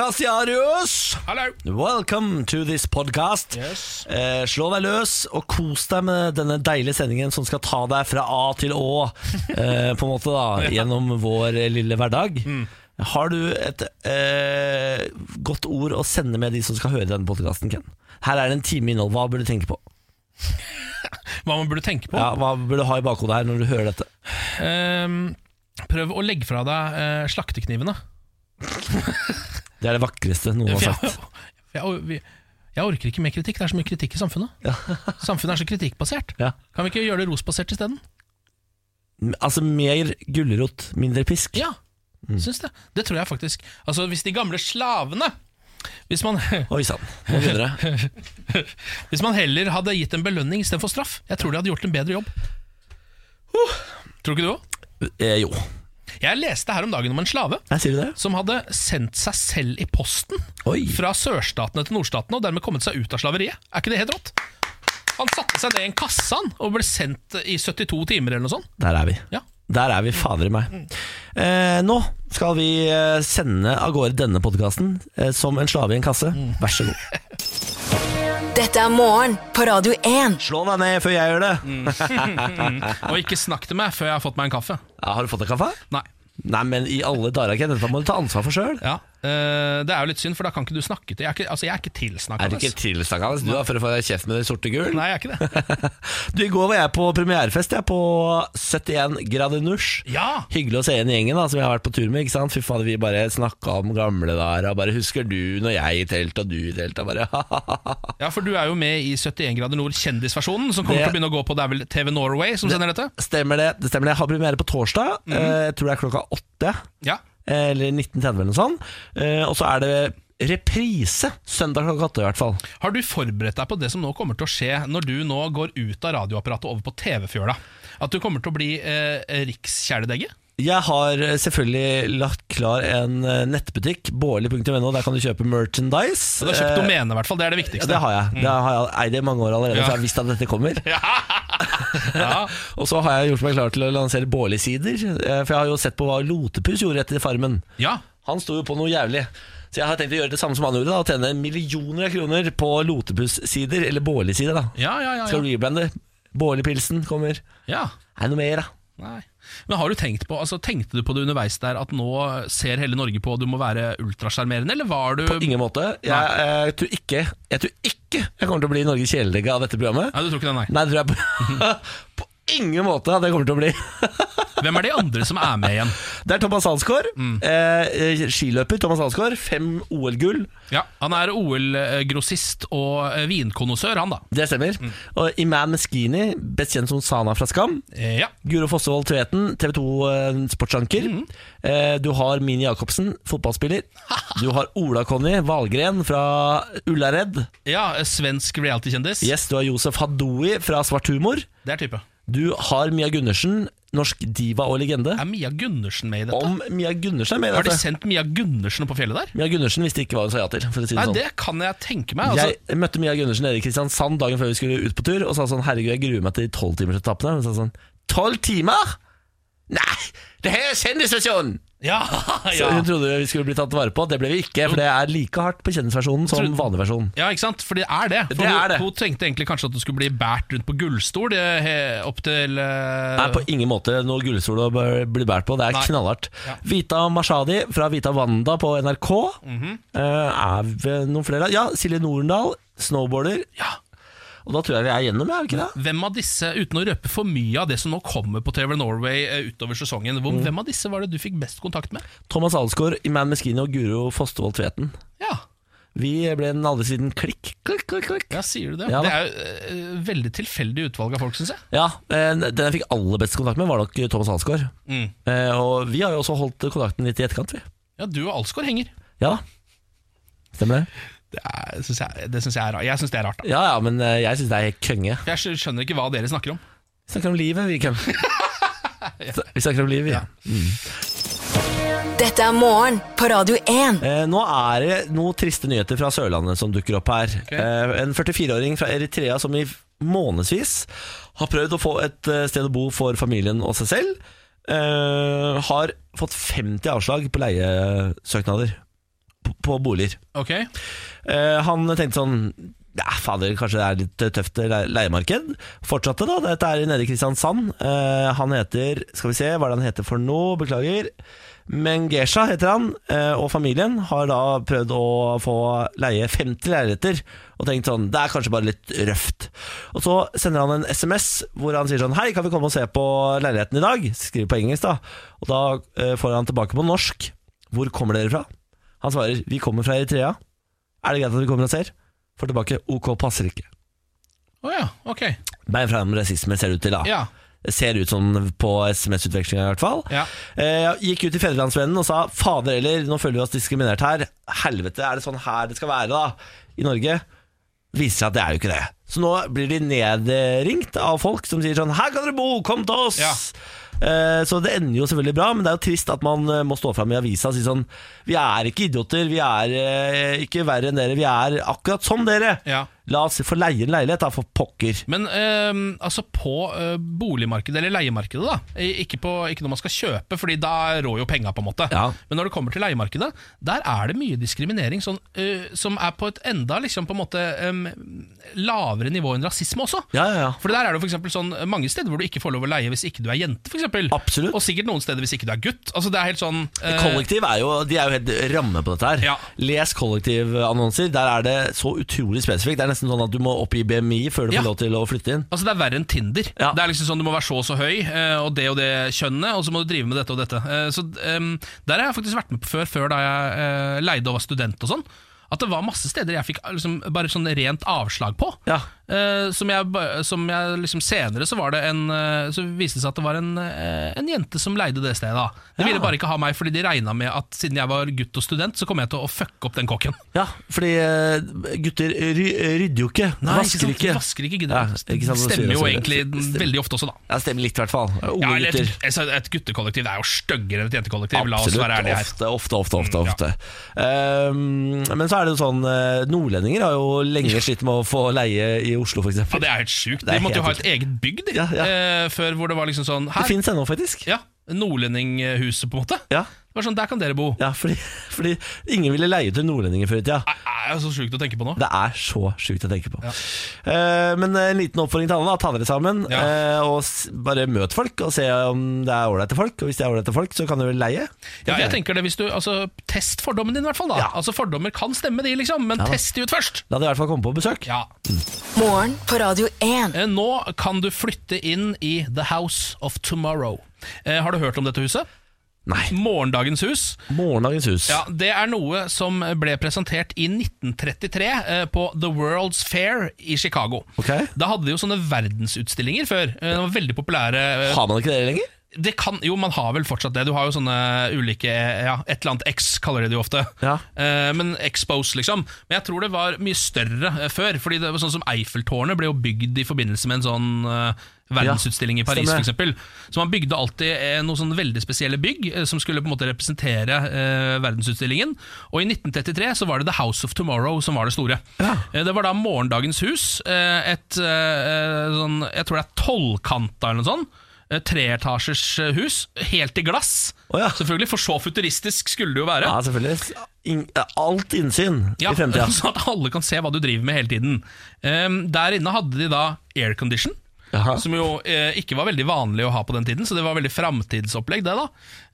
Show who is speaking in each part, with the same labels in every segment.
Speaker 1: Podkastiarius!
Speaker 2: Hallo!
Speaker 1: Welcome to this podcast.
Speaker 2: Yes.
Speaker 1: Eh, slå deg løs og kos deg med denne deilige sendingen som skal ta deg fra A til Å, eh, på en måte da, gjennom vår eh, lille hverdag. Har du et eh, godt ord å sende med de som skal høre denne podkasten, Ken? Her er det en time innhold. Hva burde du tenke på?
Speaker 2: Hva man burde tenke på?
Speaker 1: Ja, hva burde du ha i bakhodet her når du hører dette?
Speaker 2: Ehm, prøv å legge fra deg eh, slakteknivene.
Speaker 1: Det er det vakreste noen har
Speaker 2: For
Speaker 1: sagt.
Speaker 2: jeg, jeg, vi- jeg orker ikke mer kritikk. Det er så mye kritikk i samfunnet. Samfunnet er så kritikkbasert.
Speaker 1: Ja.
Speaker 2: Kan vi ikke gjøre det rosbasert isteden?
Speaker 1: Altså mer gulrot, mindre pisk.
Speaker 2: Ja, syns Mm. det. Det tror jeg faktisk. Altså, hvis de gamle slavene hvis man,
Speaker 1: Oi sann, nå begynner det.
Speaker 2: hvis man heller hadde gitt en belønning istedenfor straff, jeg tror de hadde gjort en bedre jobb. Tror ikke du òg?
Speaker 1: Eh, jo.
Speaker 2: Jeg leste her om dagen om en slave
Speaker 1: Nei, sier du det?
Speaker 2: som hadde sendt seg selv i posten
Speaker 1: Oi.
Speaker 2: fra sørstatene til nordstatene og dermed kommet seg ut av slaveriet. Er ikke det helt rått? Han satte seg ned i en kasse han, og ble sendt i 72 timer eller noe sånt.
Speaker 1: Der er vi.
Speaker 2: Ja. Mm.
Speaker 1: Der er vi, fader i meg. Eh, nå skal vi eh, sende av gårde denne podkasten eh, som en slave i en kasse.
Speaker 2: Mm.
Speaker 1: Vær så god.
Speaker 3: Dette er morgen på Radio 1.
Speaker 1: Slå deg ned før jeg gjør det.
Speaker 2: Mm. Og ikke snakk til meg før jeg har fått meg en kaffe.
Speaker 1: Ja, har du fått deg kaffe?
Speaker 2: Nei.
Speaker 1: Nei, men i alle dager, Ken. Dette må du ta ansvar for sjøl.
Speaker 2: Ja, eh, Det er jo litt synd, for da kan ikke du snakke til Jeg er ikke, altså, jeg er ikke
Speaker 1: Er du
Speaker 2: tilsnakkende.
Speaker 1: ikke tilstakkende? Du har for å få deg kjeft med det sorte gull.
Speaker 2: Nei, jeg er ikke det.
Speaker 1: Du, I går var jeg på premierefest jeg, på 71 grader nusj.
Speaker 2: Ja!
Speaker 1: Hyggelig å se igjen gjengen da, som jeg har vært på tur med. ikke sant? Fy fader, Vi bare snakka om gamle dager. og Bare husker du når jeg i telt og du i telt? Og bare,
Speaker 2: Ja, For du er jo med i 71 grader nord, kjendisversjonen, som kommer
Speaker 1: Det-
Speaker 2: til å begynne å gå på Det er vel TV Norway som sender dette?
Speaker 1: Stemmer det. det stemmer det. Jeg har premiere på torsdag.
Speaker 2: Mhm.
Speaker 1: Eh, Jeg tror det er klokka åtte.
Speaker 2: Ja.
Speaker 1: eh, Eller 19.30 eller noe sånt. Eh, Og så er det reprise søndag klokka åtte, i hvert fall.
Speaker 2: Har du forberedt deg på det som nå kommer til å skje når du nå går ut av radioapparatet og over på TV-fjøla? At du kommer til å bli eh, rikskjæledegge?
Speaker 1: Jeg har eh, selvfølgelig lagt klar en eh, nettbutikk, bårli.no. Der kan du kjøpe merchandise.
Speaker 2: Du har kjøpt
Speaker 1: Eh,
Speaker 2: domene, i hvert fall. Det er det
Speaker 1: ja,
Speaker 2: viktigste.
Speaker 1: det har jeg. Det har jeg eid i mange år allerede,
Speaker 2: Ja.
Speaker 1: for jeg har visst at dette kommer.
Speaker 2: Ja.
Speaker 1: Og så har jeg gjort meg klar til å lansere Bårli-sider. eh, For jeg har jo sett på hva Lotepus gjorde etter Farmen.
Speaker 2: ja.
Speaker 1: Han sto jo på noe jævlig. Så jeg har tenkt å gjøre det samme som han gjorde, da, og tjene millioner av kroner på Lotepus-sider, eller Bårli-sider. da.
Speaker 2: Ja, ja, ja,
Speaker 1: Skal
Speaker 2: ja.
Speaker 1: reblande. Bårli-pilsen kommer.
Speaker 2: ja.
Speaker 1: Er det noe mer, da?
Speaker 2: Nei. Men har du tenkt på, altså, tenkte du på det underveis der at nå ser hele Norge på at du må være ultrasjarmerende, eller var du
Speaker 1: Ingen måte. Jeg, jeg, tror ikke, jeg tror ikke jeg kommer til å bli Norges kjæledegge av dette programmet.
Speaker 2: Nei, du tror ikke det, nei.
Speaker 1: Nei, det tror jeg på, på ingen måte at jeg kommer til å bli.
Speaker 2: Hvem er de andre som er med igjen?
Speaker 1: Det er Thomas Alsgaard. Eh, skiløper Thomas Alsgaard. Fem OL-gull.
Speaker 2: Ja, Han er OL-grossist og eh, vinkonnoissør, han da.
Speaker 1: Det stemmer. Og Iman Meskini, best kjent som Sana fra Skam.
Speaker 2: Eh, Ja.
Speaker 1: Guro Fossevold Tveten, TV 2 sportsanker.
Speaker 2: Mhm.
Speaker 1: Eh, Du har Mini Jacobsen, fotballspiller. Du har Ola-Conny Valgren fra Ullared.
Speaker 2: ja eh, svensk reality-kjendis.
Speaker 1: Yes, du har Josef Hadoui fra Svart humor.
Speaker 2: Det er type.
Speaker 1: Du har Mia Gundersen, norsk diva og legende.
Speaker 2: Er Mia Gundersen med i dette?
Speaker 1: Om Mia Gundersen er med i
Speaker 2: Har de
Speaker 1: dette.
Speaker 2: sendt Mia Gundersen opp på fjellet der?
Speaker 1: Mia Gundersen visste ikke hva hun sa ja til. For å si det
Speaker 2: Nei,
Speaker 1: sånn.
Speaker 2: det kan jeg tenke meg. Altså,
Speaker 1: jeg møtte Mia Gundersen nede i Kristiansand dagen før vi skulle ut på tur, og sa sånn 'herregud, jeg gruer meg til de tolvtimersetappene'. Hun sa sånn 'tolv timer?! Nei! Det her er kjendisversjonen!'
Speaker 2: Ja,
Speaker 1: Så
Speaker 2: ja.
Speaker 1: Hun trodde vi skulle bli tatt vare på. Det ble vi ikke, for det er like hardt på kjendisversjonen som
Speaker 2: Tror-
Speaker 1: vanlig versjon.
Speaker 2: Ja, ikke sant? For det er det. For
Speaker 1: Det
Speaker 2: hun,
Speaker 1: er det.
Speaker 2: hun tenkte egentlig kanskje at du skulle bli båret rundt på gullstol eh, he- opp til eh,
Speaker 1: Nei, på ingen måte noe gullsol å bæ- bli båret på. Det er
Speaker 2: Nei.
Speaker 1: knallhardt.
Speaker 2: Ja.
Speaker 1: Vita Mashadi fra Vita Wanda på NRK.
Speaker 2: Mhm.
Speaker 1: Eh, er vi noen flere? Ja, Silje Norendal, snowboarder.
Speaker 2: ja.
Speaker 1: Og da tror jeg vi er gjennom, er vi ikke det?
Speaker 2: Hvem av disse, uten å røpe for mye av det som nå kommer på TV Norway eh, utover sesongen, hvor,
Speaker 1: Mm.
Speaker 2: hvem av disse var det du fikk best kontakt med?
Speaker 1: Thomas Alsgaard, Iman Meskini og Guro Fostervold Tveten.
Speaker 2: Ja,
Speaker 1: Vi ble den aldri siden klikk, klikk, klikk. klikk.
Speaker 2: ja sier du det?
Speaker 1: Ja, da.
Speaker 2: det er jo eh, veldig tilfeldig utvalg av folk, syns jeg.
Speaker 1: Ja, eh, Den jeg fikk aller best kontakt med, var nok Thomas Alsgaard.
Speaker 2: Mm.
Speaker 1: Eh, Og vi har jo også holdt kontakten litt i etterkant, vi.
Speaker 2: Ja, du og Alsgaard henger.
Speaker 1: Ja da. Stemmer det?
Speaker 2: Det er- syns jeg, det syns jeg er rart. Jeg syns det er rart, da.
Speaker 1: Ja ja, men eh, jeg syns det er helt kønge.
Speaker 2: For Jeg skj- skjønner ikke hva dere snakker om.
Speaker 1: Vi snakker om livet, vi, Ken. Vi snakker om livet, vi. Ja.
Speaker 3: Dette er morgen på Radio 1.
Speaker 1: Eh, nå er det noen triste nyheter fra Sørlandet som dukker opp her. Eh, en 44-åring fra Eritrea som i månedsvis har prøvd å få et eh, sted å bo for familien og seg selv, eh, har fått 50 avslag på leiesøknader. På, på boliger.
Speaker 2: Ok,
Speaker 1: Eh, han tenkte sånn ja, fader, kanskje det er litt eh, tøft le- leiemarked. Fortsatte, da. Dette er nede i Kristiansand. Eh, han heter Skal vi se hva er det han heter for nå, beklager. Mengesha heter han, eh, og familien har da prøvd å få leie 50 leiligheter. Og tenkt sånn, det er kanskje bare litt røft. Og så sender han en SMS hvor han sier sånn Hei, kan vi komme og se på leiligheten i dag? Skriver på engelsk, da. Og da eh, får han tilbake på norsk. Hvor kommer dere fra? Han svarer Vi kommer fra Eritrea. Er det greit at vi kommer og ser? Får tilbake OK, passer ikke.
Speaker 2: Å ja, ok
Speaker 1: Bein fram rasisme ser det ut til, da.
Speaker 2: Ja,
Speaker 1: Det Ser ut sånn på SMS-utvekslinga i hvert fall.
Speaker 2: ja
Speaker 1: Eh, jeg gikk ut til Fedrelandsvennen og sa fader heller, nå føler vi oss diskriminert her. Helvete, er det sånn her det skal være da i Norge? Viser seg at det er jo ikke det. Så nå blir de nedringt av folk som sier sånn her kan dere bo, kom til oss!
Speaker 2: Ja.
Speaker 1: Eh, Så det ender jo selvfølgelig bra, men det er jo trist at man eh, må stå fram i avisa og si sånn Vi er ikke idioter, vi er eh, ikke verre enn dere, vi er akkurat som dere.
Speaker 2: Ja.
Speaker 1: La oss få leie en leilighet, da, for pokker.
Speaker 2: Men ehm, altså på eh, boligmarkedet, eller leiemarkedet, da I- ikke, på, ikke når man skal kjøpe, Fordi da rår jo penga, på en måte.
Speaker 1: Ja.
Speaker 2: Men når det kommer til leiemarkedet, der er det mye diskriminering sånn, eh, som er på et enda liksom, på en måte, em, lavere nivå enn rasisme også.
Speaker 1: Ja, ja, ja.
Speaker 2: For der er det jo for eksempel sånn mange steder hvor du ikke får lov å leie hvis ikke du er jente. For eksempel.
Speaker 1: Absolutt.
Speaker 2: Og sikkert noen steder hvis ikke du er gutt. Altså det er helt sånn eh,
Speaker 1: Kollektiv er jo, de er jo helt ramme på dette her.
Speaker 2: Ja.
Speaker 1: Les kollektivannonser. Der er det så utrolig spesifikt. Det er nesten sånn at du må oppgi BMI før du
Speaker 2: Ja.
Speaker 1: får lov til å flytte inn.
Speaker 2: Altså Det er verre enn Tinder.
Speaker 1: Ja.
Speaker 2: Det er liksom sånn Du må være så og så høy, eh, og det og det kjønnet, og så må du drive med dette og dette. Eh, Så em, Der har jeg faktisk vært med på før, før da jeg eh, leide og var student og sånn. At det var masse steder jeg fikk eh, liksom, bare sånn rent avslag på.
Speaker 1: Ja.
Speaker 2: Eh, som jeg, ba- som jeg liksom Senere så var det en eh, Så viste det seg at det var en, eh, en jente som leide det stedet. da De ville bare ikke ha meg fordi de regna med at siden jeg var gutt og student, så kom jeg til å fucke opp den kokken.
Speaker 1: Ja, fordi eh, gutter ry rydder jo ikke. vasker
Speaker 2: sant?
Speaker 1: ikke.
Speaker 2: Vasker ikke,
Speaker 1: Ja,
Speaker 2: gidder.
Speaker 1: ikke sant, det
Speaker 2: stemmer jo
Speaker 1: sier-
Speaker 2: egentlig
Speaker 1: Stemmer.
Speaker 2: veldig ofte også, da.
Speaker 1: Ja, det stemmer litt, i hvert fall. Unge
Speaker 2: Ja, eller
Speaker 1: gutter.
Speaker 2: et, altså, et guttekollektiv det er jo styggere enn et jentekollektiv. La oss være ærlige her. Mm,
Speaker 1: Ofte, ofte, ofte. ofte, ofte. Ehm, men så er det jo sånn eh, Nordlendinger har jo lenge slitt med å få leie i Oslo, f.eks.
Speaker 2: Ja,
Speaker 1: Det,
Speaker 2: det er helt sjukt.
Speaker 1: Det er
Speaker 2: De måtte jo ha
Speaker 1: helt
Speaker 2: et eget bygg de,
Speaker 1: Ja, ja.
Speaker 2: Eh, før, hvor det var liksom sånn
Speaker 1: det
Speaker 2: her,
Speaker 1: fins ennå, faktisk.
Speaker 2: ja, Nordlendinghuset, på en måte.
Speaker 1: Ja,
Speaker 2: Det var sånn, Der kan dere bo.
Speaker 1: ja fordi, fordi ingen ville leie til nordlendinger før i tida.
Speaker 2: Det er jo så sjukt å tenke på nå.
Speaker 1: Det er så sjukt å tenke på. Eh, men en liten oppfordring til alle. da. Ta dere sammen
Speaker 2: Ja.
Speaker 1: eh, og s- bare møt folk og se om det er ålreite folk. Og hvis det er ålreite folk, så kan du vel leie.
Speaker 2: Ja, jeg tenker det hvis du, altså, Test fordommen din, i hvert fall. da
Speaker 1: Ja.
Speaker 2: Altså Fordommer kan stemme, de, liksom, men test de ut først!
Speaker 1: La det i hvert fall komme på besøk.
Speaker 2: Ja.
Speaker 3: Morgen på Radio 1.
Speaker 2: Eh, Nå kan du flytte inn i The House of Tomorrow. Eh, har du hørt om dette huset?
Speaker 1: Nei.
Speaker 2: Morgendagens hus.
Speaker 1: Morgendagens hus.
Speaker 2: Ja, Det er noe som ble presentert i 1933 eh, på The World's Fair i Chicago.
Speaker 1: Ok.
Speaker 2: Da hadde de jo sånne verdensutstillinger før. Eh, De var veldig populære. eh,
Speaker 1: Har man ikke det lenger?
Speaker 2: Det kan, jo, man har vel fortsatt det. Du har jo sånne ulike ja, Et eller annet X kaller de det jo ofte.
Speaker 1: Ja.
Speaker 2: Eh, men Expos, liksom. Men jeg tror det var mye større eh, før. Fordi det var sånn som Eiffeltårnet ble jo bygd i forbindelse med en sånn eh, verdensutstilling i Paris,
Speaker 1: stemmer.
Speaker 2: for eksempel Så man bygde alltid eh, noen sånne veldig spesielle bygg eh, som skulle på en måte representere eh, verdensutstillingen. Og i 1933 så var det The House of Tomorrow som var det store.
Speaker 1: Ja.
Speaker 2: Eh, Det var da Morgendagens hus. eh, Et eh, sånn Jeg tror det er tolvkanta eller noe sånt. Eh, Treetasjers eh, hus, helt i glass.
Speaker 1: Å ja.
Speaker 2: Selvfølgelig, for så futuristisk skulle det jo være.
Speaker 1: Ja, selvfølgelig. In alt innsyn
Speaker 2: Ja,
Speaker 1: i fremtida.
Speaker 2: Sånn at alle kan se hva du driver med hele tiden. Ehm, der inne hadde de da aircondition.
Speaker 1: Jaha.
Speaker 2: Som jo eh, ikke var veldig vanlig å ha på den tiden, så det var veldig framtidsopplegg. det da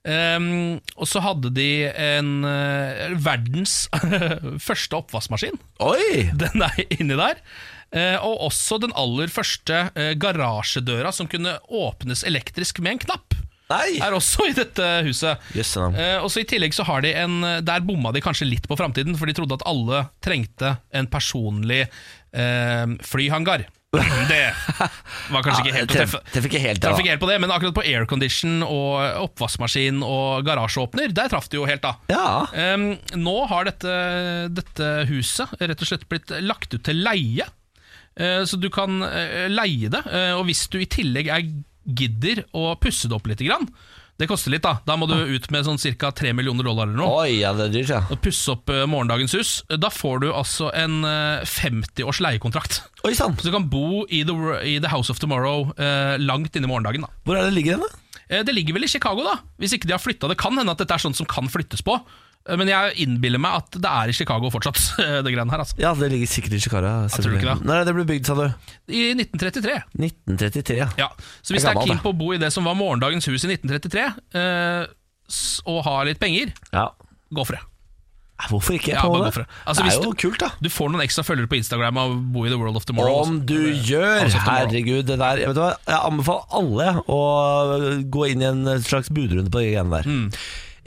Speaker 2: Ehm, Og så hadde de en eh, verdens første oppvaskmaskin.
Speaker 1: Oi!
Speaker 2: Den er inni der. Eh, og også den aller første eh, garasjedøra som kunne åpnes elektrisk med en knapp.
Speaker 1: Nei!
Speaker 2: Er også i dette huset.
Speaker 1: Jøsse navn.
Speaker 2: Eh, og så I tillegg så har de en eh, Der bomma de kanskje litt på framtiden, for de trodde at alle trengte en personlig eh, flyhangar. Det var kanskje ikke helt å
Speaker 1: Treff-
Speaker 2: treffe.
Speaker 1: Treffer ikke helt,
Speaker 2: Traff
Speaker 1: det,
Speaker 2: ikke helt på det, men akkurat på aircondition og oppvaskmaskin og garasjeåpner, der traff de jo helt, da.
Speaker 1: da. Ja.
Speaker 2: Ehm, nå har dette, dette huset rett og slett blitt lagt ut til leie. Eh, så du kan eh, leie det. Eh, og hvis du i tillegg er gidder å pusse det opp litt, grann, det koster litt, da. Da må du ut med sånn ca. 3 millioner dollar eller noe.
Speaker 1: Oi, ja, det er dyrt, ja.
Speaker 2: Og pusse opp eh, morgendagens hus. Da får du altså en eh, 50 års leiekontrakt.
Speaker 1: Oi sann!
Speaker 2: Så du kan bo i The, i the House of Tomorrow eh, langt inn i morgendagen. da
Speaker 1: Hvor er det ligger den, da?
Speaker 2: Eh, Det ligger vel i Chicago, da. Hvis ikke de har flytta. Det kan hende at dette er sånt som kan flyttes på. Eh, Men jeg innbiller meg at det er i Chicago fortsatt, det greiene her. altså
Speaker 1: Ja, det ligger sikkert i Chicago.
Speaker 2: tror du ikke det?
Speaker 1: Nei, det ble bygd, sa du.
Speaker 2: I 1933.
Speaker 1: 1933, ja.
Speaker 2: Ja, Så hvis
Speaker 1: Det er
Speaker 2: det er
Speaker 1: gammelt,
Speaker 2: keen
Speaker 1: da.
Speaker 2: på å bo i det som var morgendagens hus i 1933, eh, s- og har litt penger,
Speaker 1: ja.
Speaker 2: gå for det.
Speaker 1: Hvorfor ikke?
Speaker 2: Ja,
Speaker 1: på en
Speaker 2: bare
Speaker 1: måte?
Speaker 2: gå for det. Altså,
Speaker 1: det
Speaker 2: hvis
Speaker 1: er jo
Speaker 2: du-
Speaker 1: kult, da.
Speaker 2: Du får noen ekstra følgere på Instagram av å bo i the world of tomorrow.
Speaker 1: Om
Speaker 2: også.
Speaker 1: du gjør!
Speaker 2: House of Tomorrow.
Speaker 1: Herregud, det der jeg, vet du hva, jeg anbefaler alle å gå inn i en slags budrunde på de greiene der.
Speaker 2: Mm.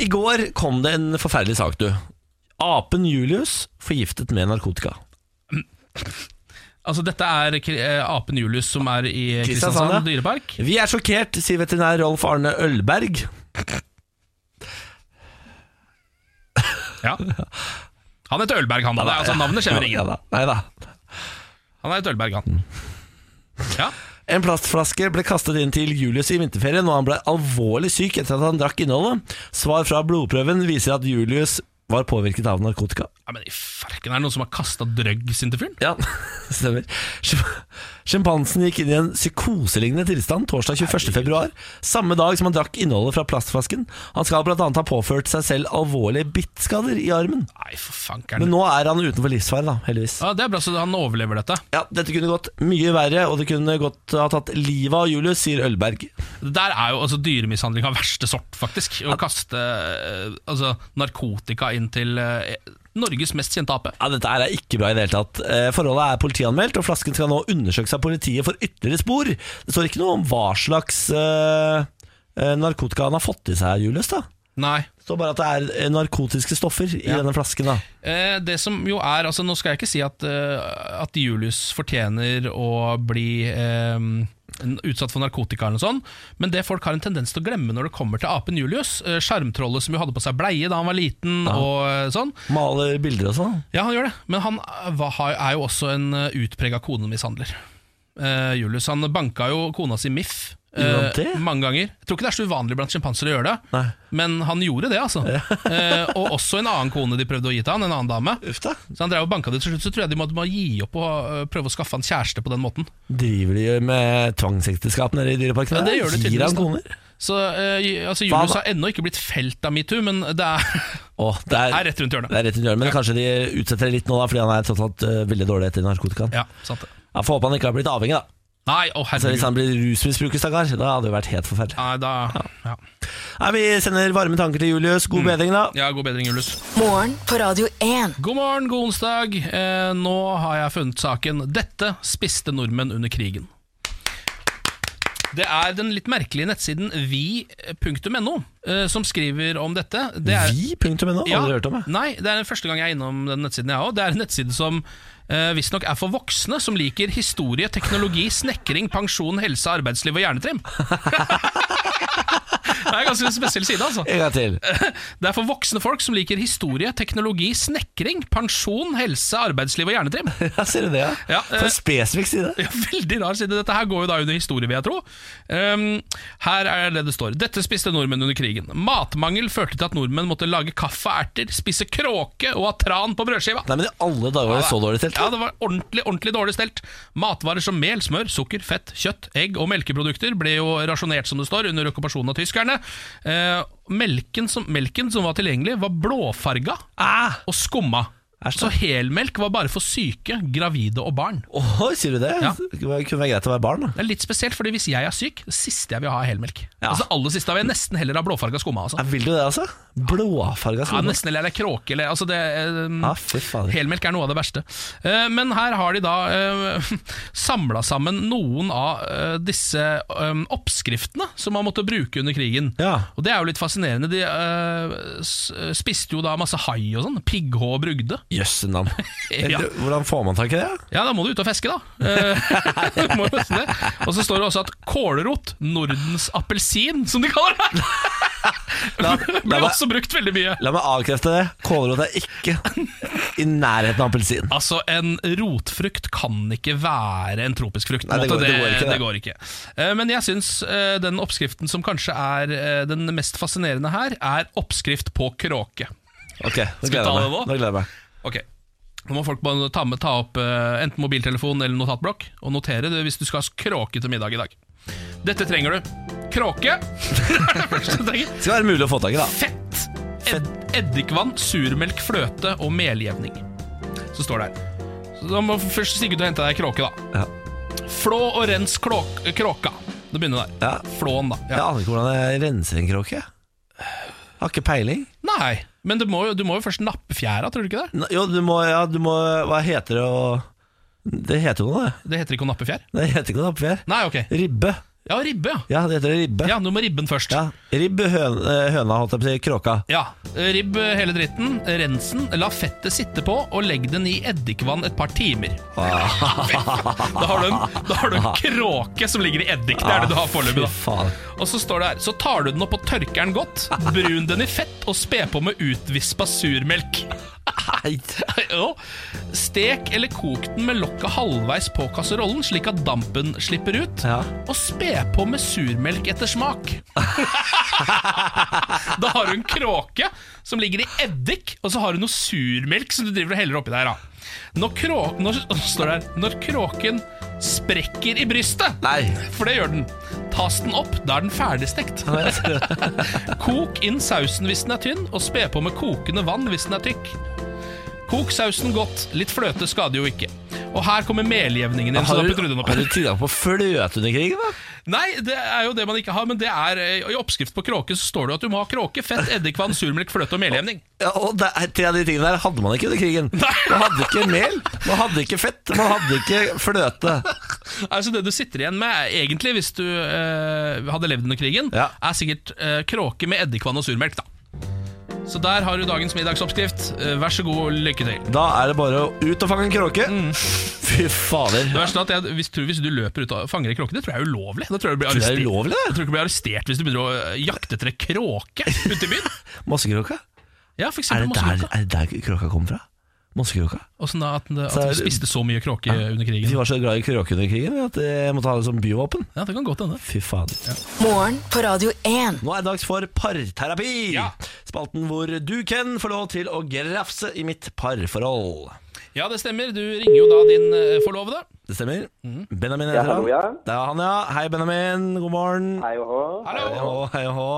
Speaker 1: I går kom det en forferdelig sak, du. Apen Julius forgiftet med narkotika.
Speaker 2: Altså Dette er kri- eh, apen Julius som er i
Speaker 1: Kristiansand, ja.
Speaker 2: Kristiansand dyrepark.
Speaker 1: Vi er sjokkert, sier veterinær Rolf Arne Ølberg.
Speaker 2: Ja. Han heter Ølberg, han da. Det er, altså, navnet skjemmer
Speaker 1: Ja,
Speaker 2: ingen.
Speaker 1: da. Nei da.
Speaker 2: Han heter Ølberg, han.
Speaker 1: Mm.
Speaker 2: Ja,
Speaker 1: En plastflaske ble kastet inn til Julius i vinterferien, og han ble alvorlig syk etter at han drakk innholdet. Svar fra blodprøven viser at Julius var påvirket av narkotika.
Speaker 2: ja Men i farken, er det noen som har kasta drøggs inn til fyren?
Speaker 1: Ja, stemmer. Sjim- Sjimpansen gikk inn i en psykoselignende tilstand torsdag 21. februar, samme dag som han drakk innholdet fra plastflasken. Han skal bl.a. ha påført seg selv alvorlige bittskader i armen.
Speaker 2: Nei, for
Speaker 1: Men
Speaker 2: fankeren.
Speaker 1: nå er han utenfor livsfare, da, heldigvis.
Speaker 2: Ja, det er bra, så han overlever dette.
Speaker 1: Ja, Dette kunne gått mye verre, og det kunne godt ha tatt livet av Julius, sier Ølberg.
Speaker 2: Det der er jo altså dyremishandling av verste sort, faktisk. Å kaste eh, altså, narkotika inn til eh, Norges mest kjente ape.
Speaker 1: Ja, Dette her er ikke bra i det hele tatt. Eh, Forholdet er politianmeldt, og flasken skal nå undersøkes av politiet for ytterligere spor. Det står ikke noe om hva slags eh, eh, narkotika han har fått i seg, Julius. da
Speaker 2: Nei.
Speaker 1: Det står bare at det er eh, narkotiske stoffer i denne flasken. da
Speaker 2: Eh, det som jo er, altså Nå skal jeg ikke si at, eh, at Julius fortjener å bli eh, n- utsatt for narkotika, eller noe sånt, men det folk har en tendens til å glemme når det kommer til apen Julius, eh, sjarmtrollet som jo hadde på seg bleie da han var liten, og eh, sånn,
Speaker 1: Maler bilder og sånn.
Speaker 2: ja, han gjør det. Men han eh, var, har- er jo også en eh, utprega konemishandler. Eh, Julius han banka jo kona si Miff. eh,
Speaker 1: Gjorde han det?
Speaker 2: mange ganger. Jeg tror ikke det er så uvanlig blant sjimpansere å gjøre det,
Speaker 1: Nei.
Speaker 2: men han gjorde det, altså. Eh, og også en annen kone de prøvde å gi til han, en annen dame.
Speaker 1: Uff da.
Speaker 2: Så han drev og banka det til slutt, så tror jeg de måtte bare gi opp og eh, prøve å skaffe han kjæreste på den måten.
Speaker 1: Driver de med tvangsekteskap nede i dyreparken?
Speaker 2: Ja, det gjør de
Speaker 1: Gir
Speaker 2: tydeligvis,
Speaker 1: han
Speaker 2: da.
Speaker 1: koner?
Speaker 2: Så eh, ju- altså,
Speaker 1: Hva
Speaker 2: Julius
Speaker 1: da?
Speaker 2: har ennå ikke blitt felt av metoo, men det er,
Speaker 1: Åh, det er,
Speaker 2: er rett rundt hjørnet.
Speaker 1: det er rett rundt hjørnet, men kanskje de utsetter det litt nå, da fordi han er tross alt eh, veldig dårlig etter narkotikaen.
Speaker 2: Ja, sant det.
Speaker 1: Jeg får håpe han ikke har blitt avhengig, da.
Speaker 2: Nei, å
Speaker 1: Altså, hvis
Speaker 2: herregud.
Speaker 1: han blir rusmisbruker, stakkar, da hadde det jo vært helt forferdelig.
Speaker 2: Nei, da, ja.
Speaker 1: Nei, Vi sender varme tanker til Julius.
Speaker 2: Mm.
Speaker 1: God bedring, da.
Speaker 2: ja, god bedring, Julius.
Speaker 3: Morgen på Radio 1.
Speaker 2: God morgen, god onsdag. Eh, nå har jeg funnet saken. Dette spiste nordmenn under krigen. Det er den litt merkelige nettsiden vi.no eh, som skriver om dette. Det er,
Speaker 1: Vi? Punktum ennå?
Speaker 2: Ja.
Speaker 1: Aldri hørt om det.
Speaker 2: Nei, det er den første gang jeg er innom den nettsiden jeg òg. Det er en nettside som eh, visstnok er for voksne som liker historie, teknologi, snekring, pensjon, helse, arbeidsliv og hjernetrim. det er en ganske spesiell side, altså.
Speaker 1: En gang til.
Speaker 2: Det er for voksne folk som liker historie, teknologi, snekring, pensjon, helse, arbeidsliv og hjernetrim.
Speaker 1: Ja, Ser du det, ja?
Speaker 2: Ja,
Speaker 1: For
Speaker 2: eh,
Speaker 1: en spesifikk side.
Speaker 2: Ja, veldig rar side. Dette her går jo da under historie, vil jeg tro. Ehm, her er det det står. Dette spiste nordmenn under krigen. Matmangel førte til at nordmenn måtte lage kaffe og erter, spise kråke og ha tran på brødskiva.
Speaker 1: Nei, men i alle dager var det så dårlig stelt.
Speaker 2: Ja, det var ordentlig, ordentlig dårlig stelt. Matvarer som mel, smør, sukker, fett, kjøtt, egg og melkeprodukter ble jo rasjonert, som det står, under okkupasjonen av tyskerne. Eh, melken, som, melken som var tilgjengelig, var blåfarga
Speaker 1: Ah,
Speaker 2: og skumma.
Speaker 1: Æsj, da.
Speaker 2: Så helmelk var bare for syke, gravide og barn.
Speaker 1: Oi, sier du det?
Speaker 2: Ja.
Speaker 1: Det kunne være greit å være barn, da.
Speaker 2: Det er litt spesielt, fordi hvis jeg er syk, det siste jeg vil ha er helmelk.
Speaker 1: Ja.
Speaker 2: Altså, det aller siste vil jeg nesten heller ha blåfarga skumma. Altså.
Speaker 1: Ja, vil du det, altså? Blåfarga
Speaker 2: Ja,
Speaker 1: skoene.
Speaker 2: nesten eller, eller kråke eller altså det, eh,
Speaker 1: Ja, Ah, fy fader.
Speaker 2: Helmelk er noe av det verste. Eh, men her har de da uh, samla sammen noen av eh, disse eh, oppskriftene som man måtte bruke under krigen.
Speaker 1: Ja.
Speaker 2: Og det er jo litt fascinerende. De eh, s- spiste jo da masse hai og sånn. Pigghå og brugde.
Speaker 1: Jøsse navn.
Speaker 2: Ja.
Speaker 1: Eller, Hvordan får man tak i det?
Speaker 2: Ja, da må du ut og feske, da. Eh, du må jo nesten det. Og så står det også at kålrot, Nordens appelsin, som de kaller det,
Speaker 1: La, la,
Speaker 2: ble
Speaker 1: meg,
Speaker 2: også brukt veldig mye.
Speaker 1: la meg avkrefte det. Kålrot er ikke i nærheten av appelsin.
Speaker 2: Altså, en rotfrukt kan ikke være en tropisk frukt. på
Speaker 1: Nei,
Speaker 2: en
Speaker 1: det
Speaker 2: måte.
Speaker 1: går- det går ikke, det.
Speaker 2: går ikke. Eh, Men jeg syns den oppskriften som kanskje er eh, den mest fascinerende her, er oppskrift på kråke.
Speaker 1: Ok, nå
Speaker 2: vi
Speaker 1: gleder
Speaker 2: ta
Speaker 1: jeg
Speaker 2: det
Speaker 1: meg.
Speaker 2: nå?
Speaker 1: Nå gleder jeg meg.
Speaker 2: Ok nå må folk bare ta, med, ta opp eh, enten mobiltelefon eller notatblokk og notere det hvis du skal ha kråke til middag i dag. Dette trenger du. Kråke. Første du trenger.
Speaker 1: Det skal være mulig å få tak i, da.
Speaker 2: Fett, ed eddikvann, surmelk, fløte og meljevning. Så står det her. Så da må først stige ut og hente deg kråke, da.
Speaker 1: Ja.
Speaker 2: Flå og rens klåk kråka. Det begynner der.
Speaker 1: Ja.
Speaker 2: Flåen, da.
Speaker 1: Jeg
Speaker 2: Ja.
Speaker 1: aner ikke hvordan jeg renser en kråke. Har ikke peiling.
Speaker 2: Nei, men du må, jo, du må jo først nappe fjæra, tror du ikke det?
Speaker 1: N- Jo, du må, ja, du må Hva heter det å Det heter jo noe, det.
Speaker 2: Det heter ikke å nappe fjær?
Speaker 1: Det heter ikke noe oppfjær.
Speaker 2: Nei, ok.
Speaker 1: Ribbe.
Speaker 2: Ja, ribbe, ja.
Speaker 1: Ja, det heter ribbe.
Speaker 2: Ja, Du må ribben først.
Speaker 1: Ja, Ribb høn, eh, høna, holdt jeg på å si. Kråka.
Speaker 2: Ja, Ribb hele dritten, rensen, la fettet sitte på og legg den i eddikvann et par timer. Da har du en, da har du en kråke som ligger i eddik. Det er det du har
Speaker 1: Ah, Fy
Speaker 2: foreløpig. da.
Speaker 1: faen.
Speaker 2: Og så står det her Så tar du den opp og tørker den godt. Brun den i fett og spe på med utvispa surmelk. Jo. Stek eller kok den med lokket halvveis på kasserollen, slik at dampen slipper ut.
Speaker 1: Ja.
Speaker 2: Og spe på med surmelk etter smak. da har du en kråke som ligger i eddik, og så har du noe surmelk som du driver og heller oppi der. Da. Når, krå når, og så står det her, når kråken sprekker i brystet
Speaker 1: Nei.
Speaker 2: For det gjør den. Tas den opp, da er den ferdigstekt. Kok inn sausen hvis den er tynn, og spe på med kokende vann hvis den er tykk. Kok sausen godt, litt fløte skader jo ikke. Og her kommer meljevningen inn. så
Speaker 1: Har
Speaker 2: da
Speaker 1: du,
Speaker 2: putter du den opp.
Speaker 1: har du tilgang på fløte under krigen, da?
Speaker 2: Nei, det er jo det man ikke har, men det er eh, i oppskrift på kråke så står det jo at du må ha kråke, fett, eddikvann, surmelk, fløte og meljevning.
Speaker 1: Ja, og det, er- Tre av de tingene der hadde man ikke under krigen. Man hadde ikke mel, man hadde ikke fett, man hadde ikke fløte.
Speaker 2: Altså Det du sitter igjen med, er egentlig, hvis du eh, hadde levd under krigen,
Speaker 1: Ja.
Speaker 2: er sikkert eh, kråke med eddikvann og surmelk, da. Så der har du dagens middagsoppskrift. Eh, vær så god, lykke til.
Speaker 1: Da er det bare å ut og fange en kråke.
Speaker 2: Mm.
Speaker 1: Fy fader.
Speaker 2: Det verste er at jeg hvis, tror Hvis du løper ut og fanger en kråke, det tror jeg er ulovlig. Da tror jeg, du blir
Speaker 1: Tror du det er
Speaker 2: arrestert.
Speaker 1: ulovlig, det?
Speaker 2: jeg tror ikke du blir arrestert hvis du begynner å eh, jakte etter en kråke ute i byen.
Speaker 1: Mossekråka?
Speaker 2: Ja, for
Speaker 1: Er
Speaker 2: eksempel
Speaker 1: det der,
Speaker 2: Mossekråka.
Speaker 1: er det der kråka kom fra? Mossekråka?
Speaker 2: Åssen da at, den-
Speaker 1: Så er
Speaker 2: at
Speaker 1: det-
Speaker 2: du spiste så mye kråke under
Speaker 1: De
Speaker 2: krigen?
Speaker 1: var så glad i kråke under krigen at eh, jeg måtte ha det som byvåpen.
Speaker 2: Ja, det kan godt hende.
Speaker 1: Fy fader.
Speaker 3: Morgen på Radio 1.
Speaker 1: Nå er det dags for parterapi.
Speaker 2: Ja.
Speaker 1: Spalten hvor du, Ken, får lov til å grafse i mitt parforhold.
Speaker 2: Ja, det stemmer. Du ringer jo da din eh, forlovede.
Speaker 1: Det stemmer.
Speaker 2: Mhm.
Speaker 1: Benjamin heter
Speaker 4: hallo, ja.
Speaker 1: han. Det er han, ja. Hei, Benjamin. God morgen.
Speaker 4: Hei og hå.
Speaker 1: Hei
Speaker 2: Hallo!
Speaker 1: hå, hei hå.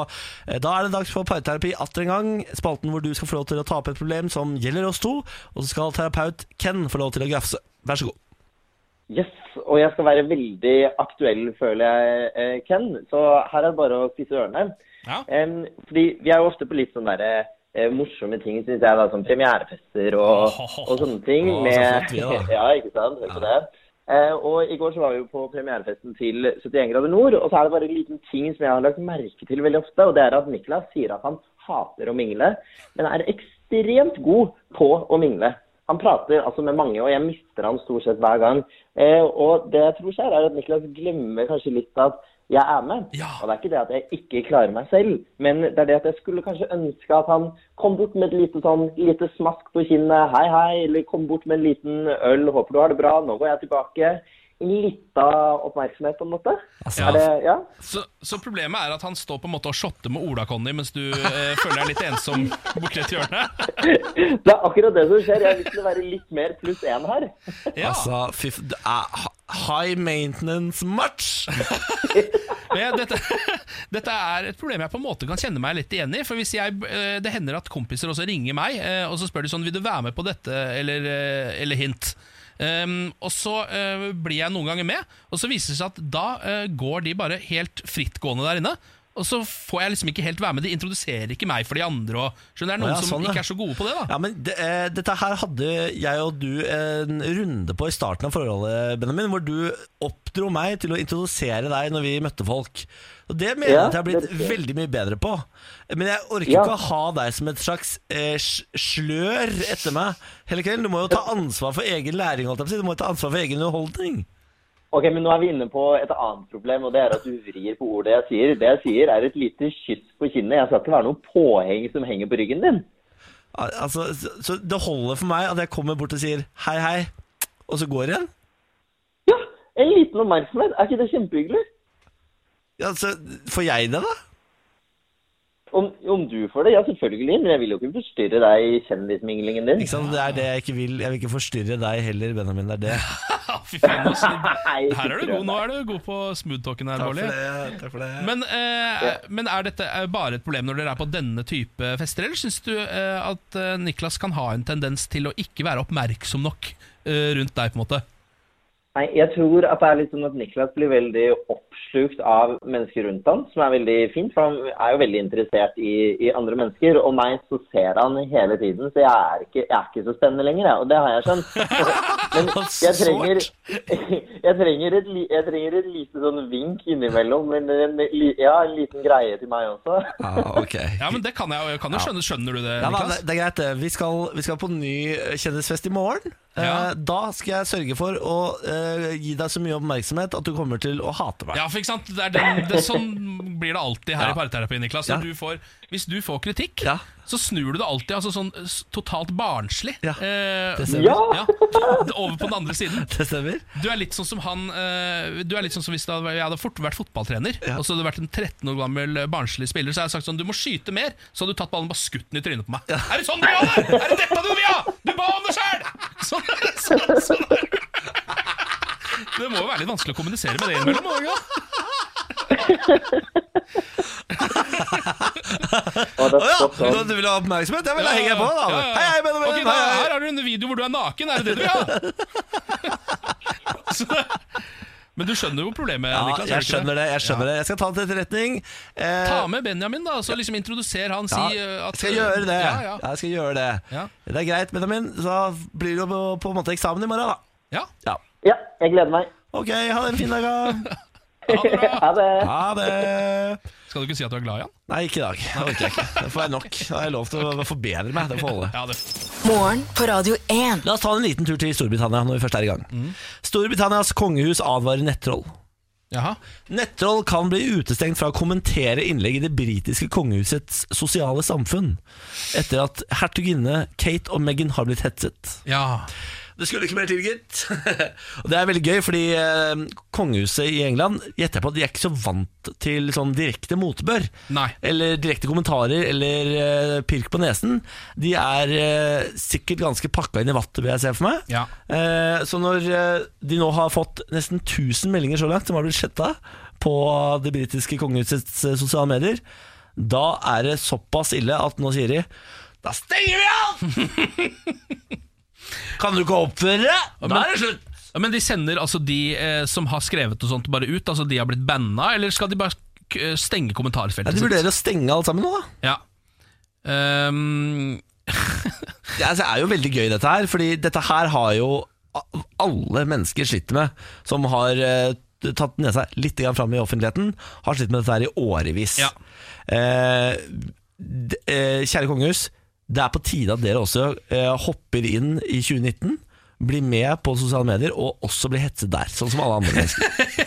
Speaker 1: Eh, Da er det dags for parterapi atter en gang. Spalten hvor du skal få lov til å ta opp et problem som gjelder oss to, og så skal terapeut Ken få lov til å grafse. Vær så god.
Speaker 4: Yes, og jeg skal være veldig aktuell, føler jeg, eh, Ken. Så her er det bare å spisse ørene.
Speaker 2: Ja.
Speaker 4: Em, fordi vi er jo ofte på litt sånne der, eh, morsomme ting, syns jeg, da, som premierefester og, og sånne ting.
Speaker 1: Å, så
Speaker 4: med-
Speaker 1: flott vi er, da.
Speaker 4: ja, ikke sant? Hør på det. Eh, og i går så var vi jo på premierefesten til 71 grader nord, og så er det bare en liten ting som jeg har lagt merke til veldig ofte, og det er at Niklas sier at han hater å mingle, men er ekstremt god på å mingle. Han prater altså med mange, og jeg mister han stort sett hver gang. Eh, og det jeg tror skjer, er at Niklas glemmer kanskje litt at jeg er med.
Speaker 2: Ja.
Speaker 4: Og det er ikke det at jeg ikke klarer meg selv, men det er det at jeg skulle kanskje ønske at han kom bort med et lite sånn lite smask på kinnet, hei hei, eller kom bort med en liten øl, håper du har det bra, nå går jeg tilbake. En lita oppmerksomhet på en måte.
Speaker 1: Altså,
Speaker 4: er det, ja?
Speaker 2: Så, så problemet er at han står på en måte og shotter med Ola-Conny mens du eh, føler deg litt ensom borti et hjørne.
Speaker 4: Det er akkurat det som skjer. Jeg vil til å være litt mer pluss én her.
Speaker 2: Ja.
Speaker 1: Altså, fy f... det er ha- High maintenance match!
Speaker 2: Men jeg- dette, dette er et problem jeg på en måte kan kjenne meg litt igjen i. For hvis jeg, eh, Det hender at kompiser også ringer meg eh, og så spør de sånn Vil du være med på dette eller, eh, eller hint. Ehm, og så eh, blir jeg noen ganger med, og så viser det seg at da eh, går de bare helt frittgående der inne. Og så får jeg liksom ikke helt være med. De introduserer ikke meg for de andre. Og, skjønner, det
Speaker 1: Å
Speaker 2: er noen
Speaker 1: ja,
Speaker 2: som
Speaker 1: sånn, ja.
Speaker 2: ikke er så gode på det, da.
Speaker 1: Ja, men det, eh, Dette her hadde jeg og du en runde på i starten av forholdet, Benjamin, hvor du oppdro meg til å introdusere deg når vi møtte folk. Og Det mener jeg
Speaker 4: Ja,
Speaker 1: at jeg har blitt
Speaker 4: det er det.
Speaker 1: veldig mye bedre på. Men jeg orker
Speaker 4: Ja.
Speaker 1: ikke å ha deg som et slags eh, sj- slør etter meg hele kvelden. Du må jo ta ansvar for egen læring, holdt jeg på å si. Du må jo ta ansvar for egen underholdning.
Speaker 4: Ok, men nå er vi inne på et annet problem, og det er at du vrir på ordet jeg sier. Det jeg sier, er et lite kyss på kinnet. Jeg skal ikke være noe påheng som henger på ryggen din.
Speaker 1: Al- Altså, så, så det holder for meg at jeg kommer bort og sier hei, hei, og så går igjen.
Speaker 4: Ja, en liten oppmerksomhet. Er ikke det kjempehyggelig?
Speaker 1: Ja, så får jeg det, da?
Speaker 4: Om, om du får det? Ja, selvfølgelig. Men jeg vil jo ikke forstyrre deg i kjendisminglingen din.
Speaker 1: Ikke sant? Det er det jeg ikke vil. Jeg vil ikke forstyrre deg heller, Benjamin. Det er det.
Speaker 2: Fy faen, ass.
Speaker 4: Nei, ikke
Speaker 2: Her er du
Speaker 4: prøv
Speaker 2: god. Nå er du god på smooth-talken her, Bårdli.
Speaker 1: det. Takk for det.
Speaker 2: Men, eh, men er dette eh, bare et problem når dere er på denne type fester, eller syns du eh, at eh, Niklas kan ha en tendens til å ikke være oppmerksom nok eh, rundt deg, på en måte?
Speaker 4: Nei, jeg tror at det er litt sånn at Niklas blir veldig oppslukt av mennesker rundt ham, som er veldig fint, for han er jo veldig interessert i, i andre mennesker. Og meg så ser han hele tiden, så jeg er ikke, jeg er ikke så spennende lenger, jeg. Og det har jeg skjønt. Men jeg trenger, jeg trenger, et, li- jeg trenger et lite sånn vink innimellom, men en, li- ja, en liten greie til meg også.
Speaker 1: Ah, ok.
Speaker 2: Ja, men det kan jeg, jo- jeg kan jo skjønne. Skjønner du det,
Speaker 1: Ja, da, det,
Speaker 2: Niklas?
Speaker 1: det er greit, det. Vi skal, vi skal på ny eh, kjendisfest i morgen. Eh,
Speaker 2: Ja.
Speaker 1: Da skal jeg sørge for å eh, gi deg så mye oppmerksomhet at du kommer til å hate meg.
Speaker 2: Ja, for ikke sant? Det er den, det, sånn blir det alltid
Speaker 1: Ja.
Speaker 2: her i parterapi, Niklas. Når
Speaker 1: Ja.
Speaker 2: Du får, hvis du får kritikk,
Speaker 1: Ja.
Speaker 2: så snur du det alltid altså sånn s- totalt barnslig.
Speaker 1: Ja.
Speaker 2: eh,
Speaker 1: Det stemmer.
Speaker 4: Ja!
Speaker 2: ja, over på den andre siden.
Speaker 1: Det stemmer.
Speaker 2: Du er litt sånn som han eh, Du er litt sånn som hvis det hadde, vært- jeg hadde fort vært fotballtrener,
Speaker 1: Ja.
Speaker 2: og så hadde det vært en 13 år gammel eh, barnslig spiller, så hadde jeg sagt sånn Du må skyte mer! Så hadde du tatt ballen og bare skutt den i trynet på meg. Er det sånn du vil ha det?! Er det dette du vil ha?! Du ba om det sjøl! Sånn, sånn, sånn er det. Det må jo være litt vanskelig å kommunisere med det innimellom. må det ikke?
Speaker 4: Og
Speaker 1: Å
Speaker 4: det er
Speaker 1: ja!
Speaker 4: stopp sånn.
Speaker 1: Du, du vil ha oppmerksomhet? Ja, vel, da henger jeg på, da.
Speaker 2: Ja, ja.
Speaker 1: Hei, hei, Benjamin!
Speaker 2: Ok, da,
Speaker 1: hei, hei.
Speaker 2: Her har du en video hvor du er naken, er det det du vil ha?! Så, men du skjønner jo problemet,
Speaker 1: Ja, jeg
Speaker 2: Niklas? gjør du ikke det?
Speaker 1: skjønner det. Jeg skjønner det Jeg skal ta det til etterretning. Eh,
Speaker 2: Ta med Benjamin, da, så liksom introduser han. Si
Speaker 1: ja,
Speaker 2: eh, at
Speaker 1: jeg skal gjøre det.
Speaker 2: Ja,
Speaker 1: Ja,
Speaker 2: ja.
Speaker 1: jeg skal gjøre det.
Speaker 2: Ja.
Speaker 1: Det er greit, Benjamin. Så blir det jo på- på en måte eksamen i morgen, da.
Speaker 2: ja.
Speaker 1: Ja.
Speaker 4: Ja, jeg gleder meg.
Speaker 1: Ok, ha det en fin dag, da.
Speaker 2: Ha det bra.
Speaker 4: Ha det.
Speaker 1: Ha det.
Speaker 2: Skal du ikke si at du er glad i han?
Speaker 1: Nei, ikke i dag. Det orker jeg ikke. Det får jeg nok. Da har jeg lov til å forbedre meg. Det får holde.
Speaker 2: Ja, det.
Speaker 3: Morgen på Radio 1.
Speaker 1: La oss ta en liten tur til Storbritannia når vi først er i gang.
Speaker 2: Mm.
Speaker 1: Storbritannias kongehus advarer nettroll.
Speaker 2: Jaha.
Speaker 1: Nettroll kan bli utestengt fra å kommentere innlegg i det britiske kongehusets sosiale samfunn etter at hertuginne Kate og Meghan har blitt hetset.
Speaker 2: Ja.
Speaker 1: Det skulle ikke mer til, gitt. og det er veldig gøy, fordi eh, kongehuset i England gjetter jeg på at de er ikke så vant til sånn direkte motbør.
Speaker 2: Nei.
Speaker 1: Eller direkte kommentarer eller eh, pirk på nesen. De er eh, sikkert ganske pakka inn i vattet, vil jeg se for meg.
Speaker 2: Ja.
Speaker 1: Eh, så når eh, de nå har fått nesten 1000 meldinger så langt, som har blitt sletta på det britiske kongehusets eh, sosiale medier, da er det såpass ille at nå sier de da stenger vi av! kan du ikke oppføre deg? Da er det slutt!
Speaker 2: Ja, Men de sender altså de eh, som har skrevet og sånt, bare ut? Altså de har blitt banna, eller skal de bare k- eh, stenge
Speaker 1: Ja,
Speaker 2: kommentarfeltet
Speaker 1: de vurderer å stenge alt sammen nå, da.
Speaker 2: Ja. Ehm,
Speaker 1: Det altså, er jo veldig gøy dette her, fordi dette her har jo a- alle mennesker slitt med, som har eh, tatt nesa litt grann fram i offentligheten, har slitt med dette her i årevis.
Speaker 2: Ja.
Speaker 1: Eh, d- eh, kjære kongehus, det er på tide at dere også eh, hopper inn i 2019, blir med på sosiale medier, og også blir hetset der, sånn som alle andre mennesker.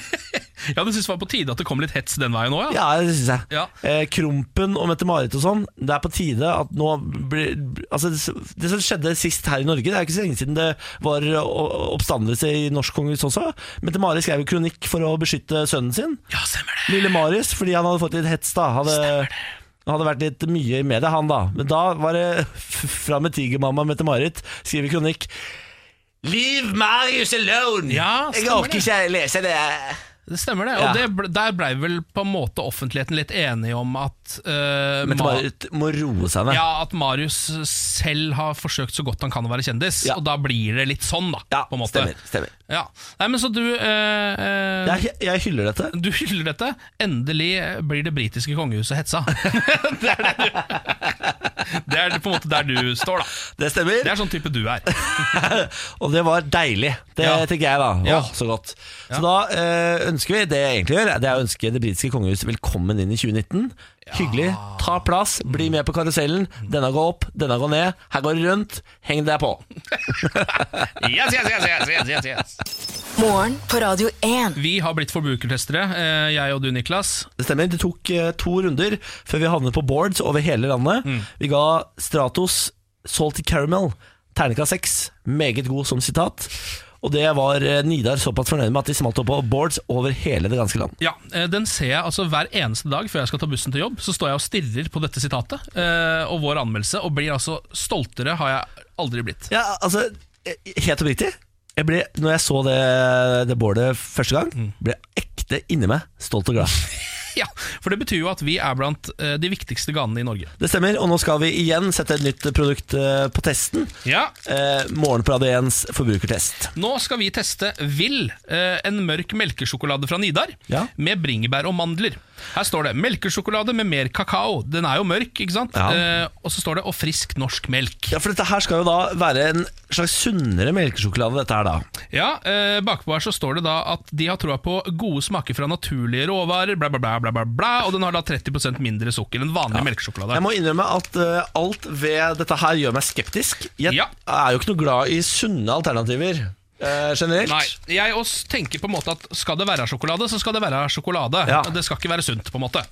Speaker 2: ja, du syns det var på tide at det kom litt hets den veien òg, ja?
Speaker 1: Ja, det synes jeg.
Speaker 2: Ja.
Speaker 1: Eh, Krompen og Mette-Marit og sånn, det er på tide at nå blir Altså, det- det som skjedde sist her i Norge, det er jo ikke så lenge siden det var eh, o- oppstandelse i norsk kongehus også. Mette-Marit skrev jo kronikk for å beskytte sønnen sin,
Speaker 2: Ja, stemmer det.
Speaker 1: lille Marius, fordi han hadde fått litt hets, da. Hadde, han hadde vært litt mye i media, han da. Men da var det f- fram med tigermamma Mette-Marit, skriver kronikk. Leave Marius alone!
Speaker 2: Ja,
Speaker 1: jeg
Speaker 2: stemmer
Speaker 1: orker
Speaker 2: det.
Speaker 1: ikke lese det.
Speaker 2: Det stemmer det. Og
Speaker 1: Ja.
Speaker 2: det ble, der blei vel på en måte offentligheten litt enig om at eh, Ma-
Speaker 1: Mette-Marit må roe seg ned.
Speaker 2: Ja, at Marius selv har forsøkt så godt han kan å være kjendis,
Speaker 1: Ja.
Speaker 2: og da blir det litt sånn, da.
Speaker 1: Ja,
Speaker 2: på en måte.
Speaker 1: stemmer, stemmer.
Speaker 2: Ja. Nei, men så du eh, eh,
Speaker 1: Jeg, jeg hyller dette.
Speaker 2: Du hyller dette. Endelig blir det britiske kongehuset hetsa. det, er det, du, det er på en måte der du står, da.
Speaker 1: Det stemmer.
Speaker 2: Det er sånn type du er.
Speaker 1: og det var deilig. Det
Speaker 2: Ja.
Speaker 1: tenker jeg, da.
Speaker 2: Ja.
Speaker 1: Åh, så godt.
Speaker 2: Ja.
Speaker 1: Så da eh, ønsker vi det jeg egentlig gjør, det er å ønske det britiske kongehuset velkommen inn i 2019. Hyggelig. Ta plass, bli med på karusellen. Denne går opp, denne går ned. Her går det rundt. Heng deg på.
Speaker 2: Yes, yes, yes, yes, yes, yes, yes.
Speaker 3: Morgen på Radio 1.
Speaker 2: Vi har blitt forbrukertestere, eh, jeg og du, Niklas.
Speaker 1: Det stemmer. Det tok eh, to runder før vi havnet på boards over hele landet. Vi ga Stratos Salty Caramel terningkast seks. Meget god som sitat. Og det var eh, Nidar såpass fornøyd med at de smalt opp på boards over hele det ganske land.
Speaker 2: Ja, eh, Den ser jeg altså hver eneste dag før jeg skal ta bussen til jobb. Så står jeg og stirrer på dette sitatet eh, og vår anmeldelse, og blir altså stoltere har jeg aldri blitt.
Speaker 1: Ja, altså eh, Helt oppriktig. jeg ble, når jeg så det, det bålet første gang, ble jeg ekte inni meg stolt og glad.
Speaker 2: Ja, For det betyr jo at vi er blant eh, de viktigste ganene i Norge.
Speaker 1: Det stemmer, og nå skal vi igjen sette et nytt produkt eh, på testen.
Speaker 2: Ja,
Speaker 1: Eh, Morgenparade 1s forbrukertest.
Speaker 2: Nå skal vi teste Vill, eh, en mørk melkesjokolade fra Nidar,
Speaker 1: Ja.
Speaker 2: med bringebær og mandler. Her står det 'melkesjokolade med mer kakao'. Den er jo mørk, ikke sant?
Speaker 1: Ja.
Speaker 2: Eh, og så står det 'og frisk norsk melk'.
Speaker 1: Ja, for dette her skal jo da være en slags sunnere melkesjokolade, dette her da.
Speaker 2: Ja, eh, Bakpå her så står det da at de har troa på gode smaker fra naturlige råvarer, bla, bla, bla, bla, bla, bla og den har da 30 mindre sukker enn vanlig melkesjokolade.
Speaker 1: Jeg må innrømme at eh, alt ved dette her gjør meg skeptisk. Jeg
Speaker 2: Ja.
Speaker 1: er jo ikke noe glad i sunne alternativer eh, generelt.
Speaker 2: Nei, jeg også tenker på en måte at skal det være sjokolade, så skal det være sjokolade.
Speaker 1: Ja.
Speaker 2: Det skal ikke være sunt, på en måte.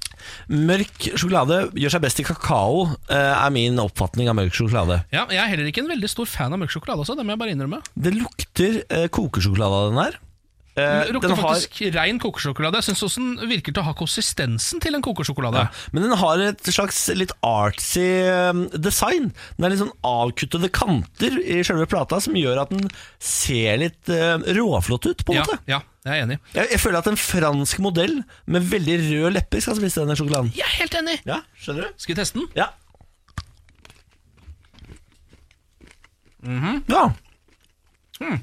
Speaker 1: Mørk sjokolade gjør seg best i kakao, eh, er min oppfatning av mørk sjokolade.
Speaker 2: Ja, Jeg er heller ikke en veldig stor fan av mørk sjokolade også, det må jeg bare innrømme.
Speaker 1: Det lukter eh, kokesjokolade av den her. Eh,
Speaker 2: Den lukter faktisk rein kokesjokolade. Jeg syns også den virker til å ha konsistensen til en kokesjokolade.
Speaker 1: Men den har et slags litt artsy eh, design. Den er litt sånn avkuttede kanter i selve plata som gjør at den ser litt eh, råflott ut, på en
Speaker 2: Ja,
Speaker 1: måte.
Speaker 2: ja, jeg er enig.
Speaker 1: Jeg, jeg føler at en fransk modell med veldig rød lepper skal spise denne sjokoladen.
Speaker 2: Jeg er helt enig!
Speaker 1: Ja, skjønner du?
Speaker 2: Skal vi teste den?
Speaker 1: Ja.
Speaker 2: Mhm.
Speaker 1: Ja, Mm.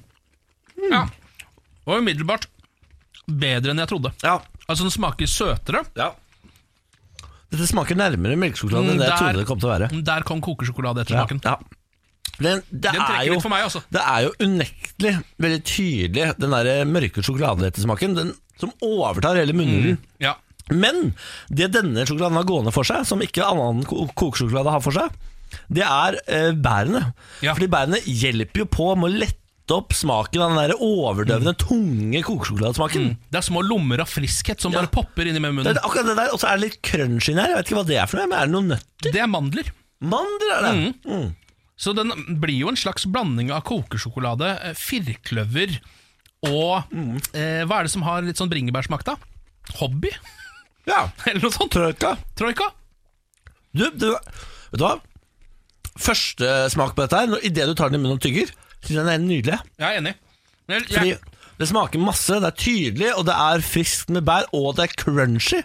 Speaker 2: Ja. Og umiddelbart bedre enn jeg trodde.
Speaker 1: ja,
Speaker 2: Altså, den smaker søtere.
Speaker 1: ja. Dette smaker nærmere melkesjokolade enn det jeg trodde det kom til å være.
Speaker 2: Der kom kokesjokolade etter
Speaker 1: Ja,
Speaker 2: Mm, smaken.
Speaker 1: ja. Den, det,
Speaker 2: Den
Speaker 1: er
Speaker 2: trekker
Speaker 1: jo,
Speaker 2: litt for meg, altså.
Speaker 1: det er jo unektelig veldig tydelig, den der mørke sjokoladeettesmaken, den som overtar hele munnhulen.
Speaker 2: Ja.
Speaker 1: Men det denne sjokoladen har gående for seg, som ikke annen ko- kokesjokolade har for seg, det er eh, bærene.
Speaker 2: Ja.
Speaker 1: Fordi bærene hjelper jo på med å lette opp smaken av den der overdøvende, tunge kokesjokoladesmaken.
Speaker 2: Det er små lommer av friskhet som
Speaker 1: Ja.
Speaker 2: bare popper inni
Speaker 1: Det
Speaker 2: med munnen.
Speaker 1: er akkurat det der, Og så er det litt crunch inni her. Jeg vet ikke hva det er for noe, men er det noen nøtt?
Speaker 2: Det er mandler.
Speaker 1: Mandel er det! Mm.
Speaker 2: Så den blir jo en slags blanding av kokesjokolade, eh, firkløver og eh, Hva er det som har litt sånn bringebærsmak, da? Hobby?
Speaker 1: Ja.
Speaker 2: Eller noe sånt?
Speaker 1: Trøyka.
Speaker 2: Troika?
Speaker 1: Du, du, vet du hva? Første smak på dette her, når- i det du tar den i munnen og tygger, synes jeg den er nydelig.
Speaker 2: Jeg er enig. Men Jeg,
Speaker 1: Fordi
Speaker 2: jeg,
Speaker 1: det smaker masse, det er tydelig, og det er friskt med bær, og det er crunchy.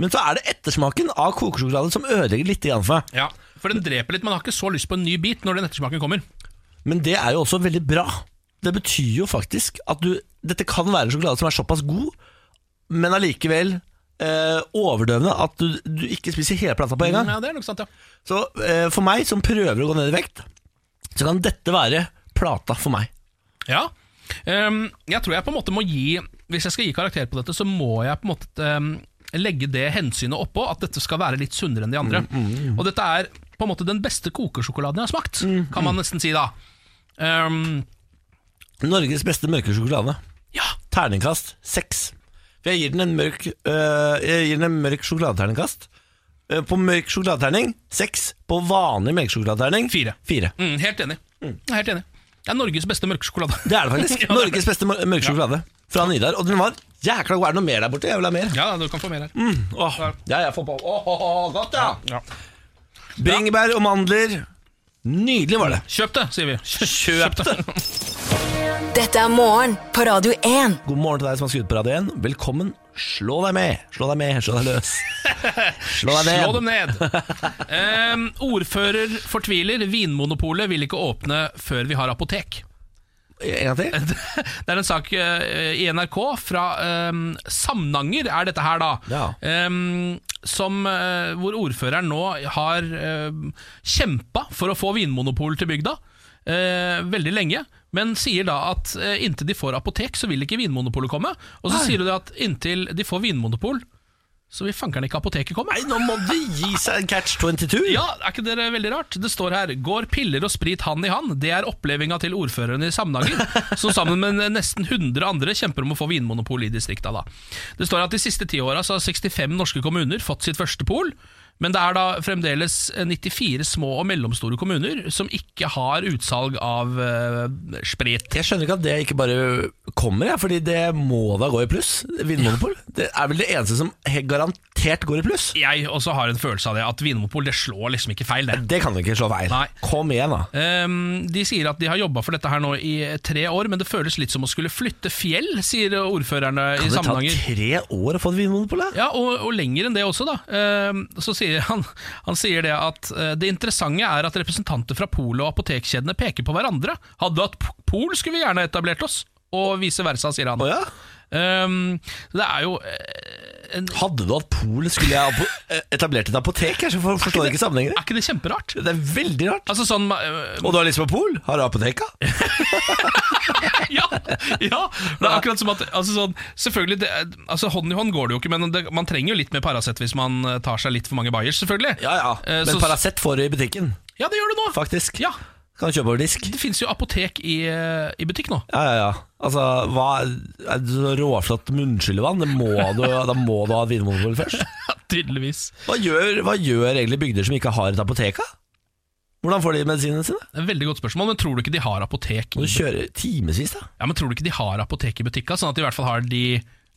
Speaker 1: Men så er det ettersmaken av kokesjokolade som ødelegger litt grann for meg.
Speaker 2: ja, for den dreper litt. Man har ikke så lyst på en ny bit når den ettersmaken kommer.
Speaker 1: Men det er jo også veldig bra. Det betyr jo faktisk at du Dette kan være en sjokolade som er såpass god, men allikevel eh, overdøvende at du, du ikke spiser hele plata på en gang.
Speaker 2: Ja, det er nok sant, ja.
Speaker 1: Så eh, for meg som prøver å gå ned i vekt, så kan dette være plata for meg.
Speaker 2: ja. Ehm, jeg tror jeg på en måte må gi Hvis jeg skal gi karakter på dette, så må jeg på en måte ehm, legge det hensynet oppå at dette skal være litt sunnere enn de andre.
Speaker 1: Mm,
Speaker 2: Og dette er på en måte den beste kokesjokoladen jeg har smakt,
Speaker 1: Mm,
Speaker 2: kan man nesten si da. Ehm,
Speaker 1: Norges beste mørke sjokolade.
Speaker 2: ja,
Speaker 1: Terningkast seks. For jeg gir den en mørk øh, Jeg gir den en mørk sjokoladeterningkast. Øh, På mørk sjokoladeterning seks. På vanlig melkesjokoladeterning
Speaker 2: Fire.
Speaker 1: fire.
Speaker 2: mm, helt enig. Jeg er Helt enig. Det er Norges beste mørkesjokolade.
Speaker 1: Det er det faktisk.
Speaker 2: Ja, det er det.
Speaker 1: Norges beste mør- mørke sjokolade fra Nidar. Og den var jækla god. Er det noe mer der borte? Jeg vil ha mer.
Speaker 2: Ja, du kan få mer her.
Speaker 1: Åh, ja, jeg får på. Åh, åh, åh, godt, ja.
Speaker 2: Ja.
Speaker 1: Bringebær og mandler. Nydelig var det.
Speaker 2: Kjøp det, sier vi.
Speaker 1: Kjøp det.
Speaker 3: Dette er morgen på Radio 1.
Speaker 1: God morgen til deg som har skrudd på radioen. Velkommen. Slå deg med. Slå deg med, slå deg løs. Slå deg ned.
Speaker 2: Slå dem ned. Ehm, ordfører fortviler. Vinmonopolet vil ikke åpne før vi har apotek.
Speaker 1: En gang til.
Speaker 2: Det er en sak eh, i NRK fra ehm, Samnanger, er dette her, da.
Speaker 1: Ja.
Speaker 2: Ehm, som, eh, hvor ordføreren nå har um, kjempa for å få vinmonopol til bygda. eh, veldig lenge, men sier da at eh, inntil de får apotek, så vil ikke Vinmonopolet komme. Og så sier du det at inntil de får Vinmonopol, så vil fankeren ikke apoteket komme.
Speaker 1: Nei, nå må du gi seg en catch 22.
Speaker 2: Ja, er ikke det veldig rart? Det står her 'Går piller og sprit hand i hand'. Det er opplevinga til ordføreren i Samnanger, som sammen med nesten 100 andre kjemper om å få vinmonopol i distrikta. da. Det står at de siste ti åra så har 65 norske kommuner fått sitt første pol. Men det er da fremdeles 94 små og mellomstore kommuner som ikke har utsalg av eh, sprit.
Speaker 1: Jeg skjønner ikke at det ikke bare kommer, jeg, fordi det må da gå i pluss. Vinmonopol. Det er vel det eneste som helt garantert går i pluss.
Speaker 2: Jeg også har en følelse av det, at Vinmonopol det slår liksom ikke feil, det.
Speaker 1: Det kan du ikke slå feil.
Speaker 2: Nei.
Speaker 1: Kom igjen, da.
Speaker 2: Ehm, de sier at de har jobba for dette her nå i tre år, men det føles litt som å skulle flytte fjell, sier ordførerne i
Speaker 1: Kan det ta
Speaker 2: Samnanger.
Speaker 1: tre år å få et vinmonopol? da?
Speaker 2: Ja, og, og lenger enn det også, da. Ehm, Så sier han, han sier det at eh, det interessante er at representanter fra polet og apotekkjedene peker på hverandre. Hadde hatt p- pol, skulle vi gjerne etablert oss. Og vice versa, sier han.
Speaker 1: Å ja?
Speaker 2: Ehm, det er jo eh, en,
Speaker 1: Hadde du hatt pol, skulle jeg apo- eh, etablert et apotek? Jeg for- forstår ikke sammenhengen.
Speaker 2: Er ikke det kjemperart?
Speaker 1: Det er veldig rart.
Speaker 2: Altså sånn eh,
Speaker 1: Og du har liksom pol? Har du apoteka?
Speaker 2: ja, ja! Det er akkurat som at altså sånn, Selvfølgelig, det, er- altså Hånd i hånd går det jo ikke, men det, man trenger jo litt mer Paracet hvis man eh, tar seg litt for mange Bayers, selvfølgelig.
Speaker 1: Ja ja.
Speaker 2: Eh,
Speaker 1: Men
Speaker 2: så-
Speaker 1: Paracet får du i butikken,
Speaker 2: ja, det gjør du nå!
Speaker 1: faktisk.
Speaker 2: Ja,
Speaker 1: Kan du kjøpe over disk.
Speaker 2: Det fins jo apotek i, eh, i butikk nå.
Speaker 1: Ja, ja, ja. Altså, hva er det så Råflott munnskyllevann? Det må du, da må du ha et vinmonopol først.
Speaker 2: Ja, Tydeligvis.
Speaker 1: Hva gjør, hva gjør egentlig bygder som ikke har et apotek? da? Hvordan får de medisinene sine?
Speaker 2: Det er et Veldig godt spørsmål, men tror du ikke de har apotek
Speaker 1: Må
Speaker 2: i,
Speaker 1: du kjøre timevis, da?
Speaker 2: ja, men tror du ikke de har apotek i butikka? Sånn at de i hvert fall har de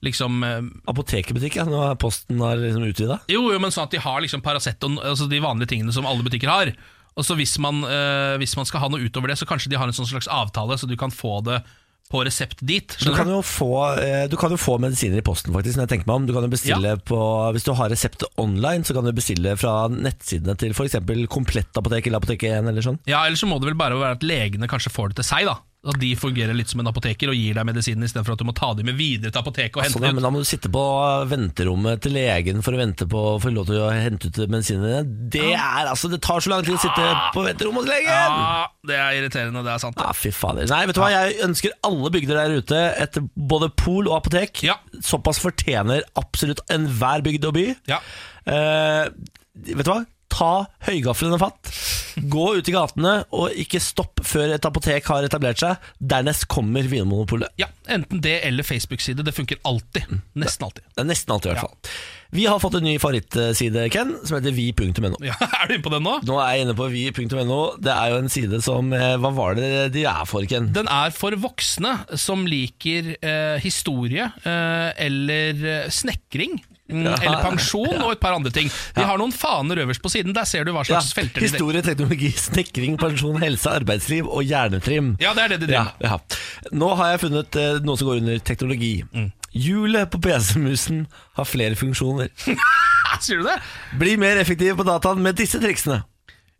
Speaker 2: liksom eh,
Speaker 1: Apotekerbutikk, ja. Nå er posten har liksom utvida.
Speaker 2: Jo, jo, men sånn at de har liksom Paracet og altså de vanlige tingene som alle butikker har. Og så hvis man, eh, hvis man skal ha noe utover det, så kanskje de har en sånn slags avtale, så du kan få det på resept dit.
Speaker 1: Du kan,
Speaker 2: Skjønner du?
Speaker 1: jo få, eh, du kan jo få medisiner i posten, faktisk. Når jeg tenker meg om Du kan jo bestille på Hvis du har reseptet online, så kan du bestille fra nettsidene til f.eks. Komplettapoteket eller Apotek 1 eller sånn.
Speaker 2: Ja, Eller så må det vel bare være at legene kanskje får det til seg, da. At de fungerer litt som en apoteker og gir deg medisinen istedenfor at du må ta dem med videre til apoteket og hente
Speaker 1: Sånn, ja,
Speaker 2: dem
Speaker 1: men
Speaker 2: ut.
Speaker 1: da må du sitte på venterommet til legen for å vente på å få lov til å hente ut medisinene dine. Det er altså Det tar så lang tid å sitte på venterommet hos legen!
Speaker 2: Ja, det er irriterende, det er sant.
Speaker 1: Ja, fy fader. Nei, vet du hva? Jeg ønsker alle bygder der ute et både pol og apotek.
Speaker 2: Ja.
Speaker 1: Såpass fortjener absolutt enhver bygd og by.
Speaker 2: Ja.
Speaker 1: Eh, vet du hva? Ta høygaflene fatt. Gå ut i gatene, og ikke stopp før et apotek har etablert seg. Dernest kommer Vinmonopolet.
Speaker 2: Ja, Enten det eller Facebook-side. Det funker alltid. Nesten alltid.
Speaker 1: Det er nesten alltid, i hvert fall. Vi har fått en ny favorittside, Ken, som heter vi.no.
Speaker 2: Ja, Er du inne på den nå?
Speaker 1: Nå er jeg inne på vi.no. Det er jo en side som eh, Hva var det de er for, Ken?
Speaker 2: Den er for voksne som liker eh, historie eh, eller eh, snekring. Mm, Eller pensjon og et par andre ting. De har noen faner øverst på siden. Der ser du hva
Speaker 1: Ja,
Speaker 2: slags felter de dekker.
Speaker 1: historie, teknologi, snekring, pensjon, helse, arbeidsliv og hjernetrim.
Speaker 2: Ja, det er det de driver med.
Speaker 1: Ja, ja. Nå har jeg funnet eh, noe som går under teknologi.
Speaker 2: Mm.
Speaker 1: Hjulet på PC-musen har flere funksjoner.
Speaker 2: Sier du det?
Speaker 1: Bli mer effektiv på dataen med disse triksene.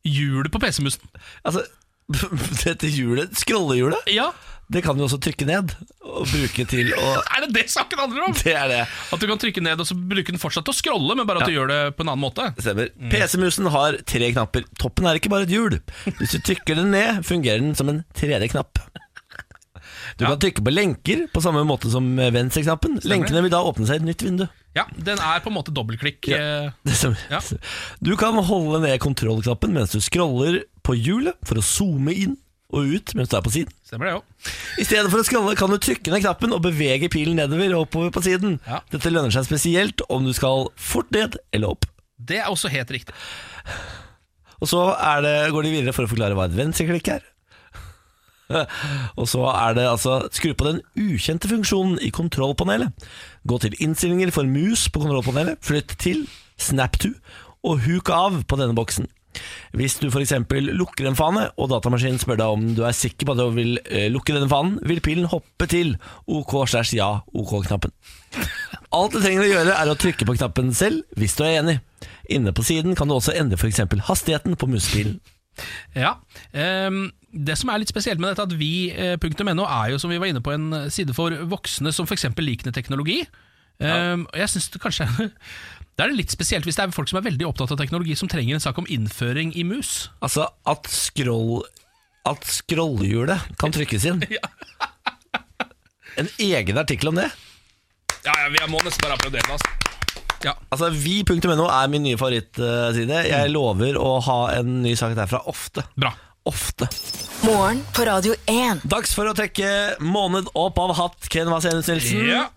Speaker 2: Hjulet på PC-musen.
Speaker 1: Altså, dette hjulet, scrollehjulet,
Speaker 2: Ja,
Speaker 1: det kan du også trykke ned og bruke til å
Speaker 2: er det det saken handler om?
Speaker 1: Det er det.
Speaker 2: At du kan trykke ned og så bruke den fortsatt til å scrolle, men bare at du gjør det på en annen måte.
Speaker 1: Stemmer. PC-musen har tre knapper. Toppen er ikke bare et hjul. Hvis du trykker den ned, fungerer den som en tredje knapp. Du kan trykke på lenker på samme måte som venstre-knappen. Lenkene vil da åpne seg i et nytt vindu.
Speaker 2: Ja, Den er på en måte dobbeltklikk. eh,
Speaker 1: Det stemmer.
Speaker 2: Ja.
Speaker 1: Du kan holde ned kontrollknappen mens du scroller på hjulet for å zoome inn og ut mens du er på siden.
Speaker 2: Stemmer det jo.
Speaker 1: I stedet for å scrolle kan du trykke ned knappen og bevege pilen nedover og oppover på siden.
Speaker 2: Ja.
Speaker 1: Dette lønner seg spesielt om du skal fort ned eller opp.
Speaker 2: Det er også helt riktig.
Speaker 1: Og så er det, går de videre for å forklare hva et venstreklikk er. Og så er det altså Skru på den ukjente funksjonen i kontrollpanelet. Gå til innstillinger for mus på kontrollpanelet. Flytt til snap to og huk av på denne boksen. Hvis du f.eks. lukker en fane, og datamaskinen spør deg om du er sikker på at du vil eh, lukke denne fanen, vil pilen hoppe til OK slash ja OK-knappen. Alt du trenger å gjøre er å trykke på knappen selv hvis du er enig. Inne på siden kan du også endre f.eks. hastigheten på musepilen.
Speaker 2: Ja, ehm, det som er litt spesielt med dette, at eh, vi.no er jo, som vi var inne på, en side for voksne som f.eks. liker teknologi. Ehm, og jeg synes det kanskje Det er litt spesielt hvis det er folk som er veldig opptatt av teknologi, som trenger en sak om innføring i mus.
Speaker 1: Altså at scroll At scrollhjulet kan trykkes inn. En egen artikkel om det.
Speaker 2: Ja, ja, jeg må nesten bare applaudere, altså. Ja.
Speaker 1: Altså Vi.no er min nye favorittside. Jeg lover å ha en ny sak derfra ofte.
Speaker 2: Bra.
Speaker 1: Ofte.
Speaker 3: Morgen på Radio 1.
Speaker 1: Dags for å trekke måned opp av hatt. Ken Vasenus Nilsen.
Speaker 2: Ja.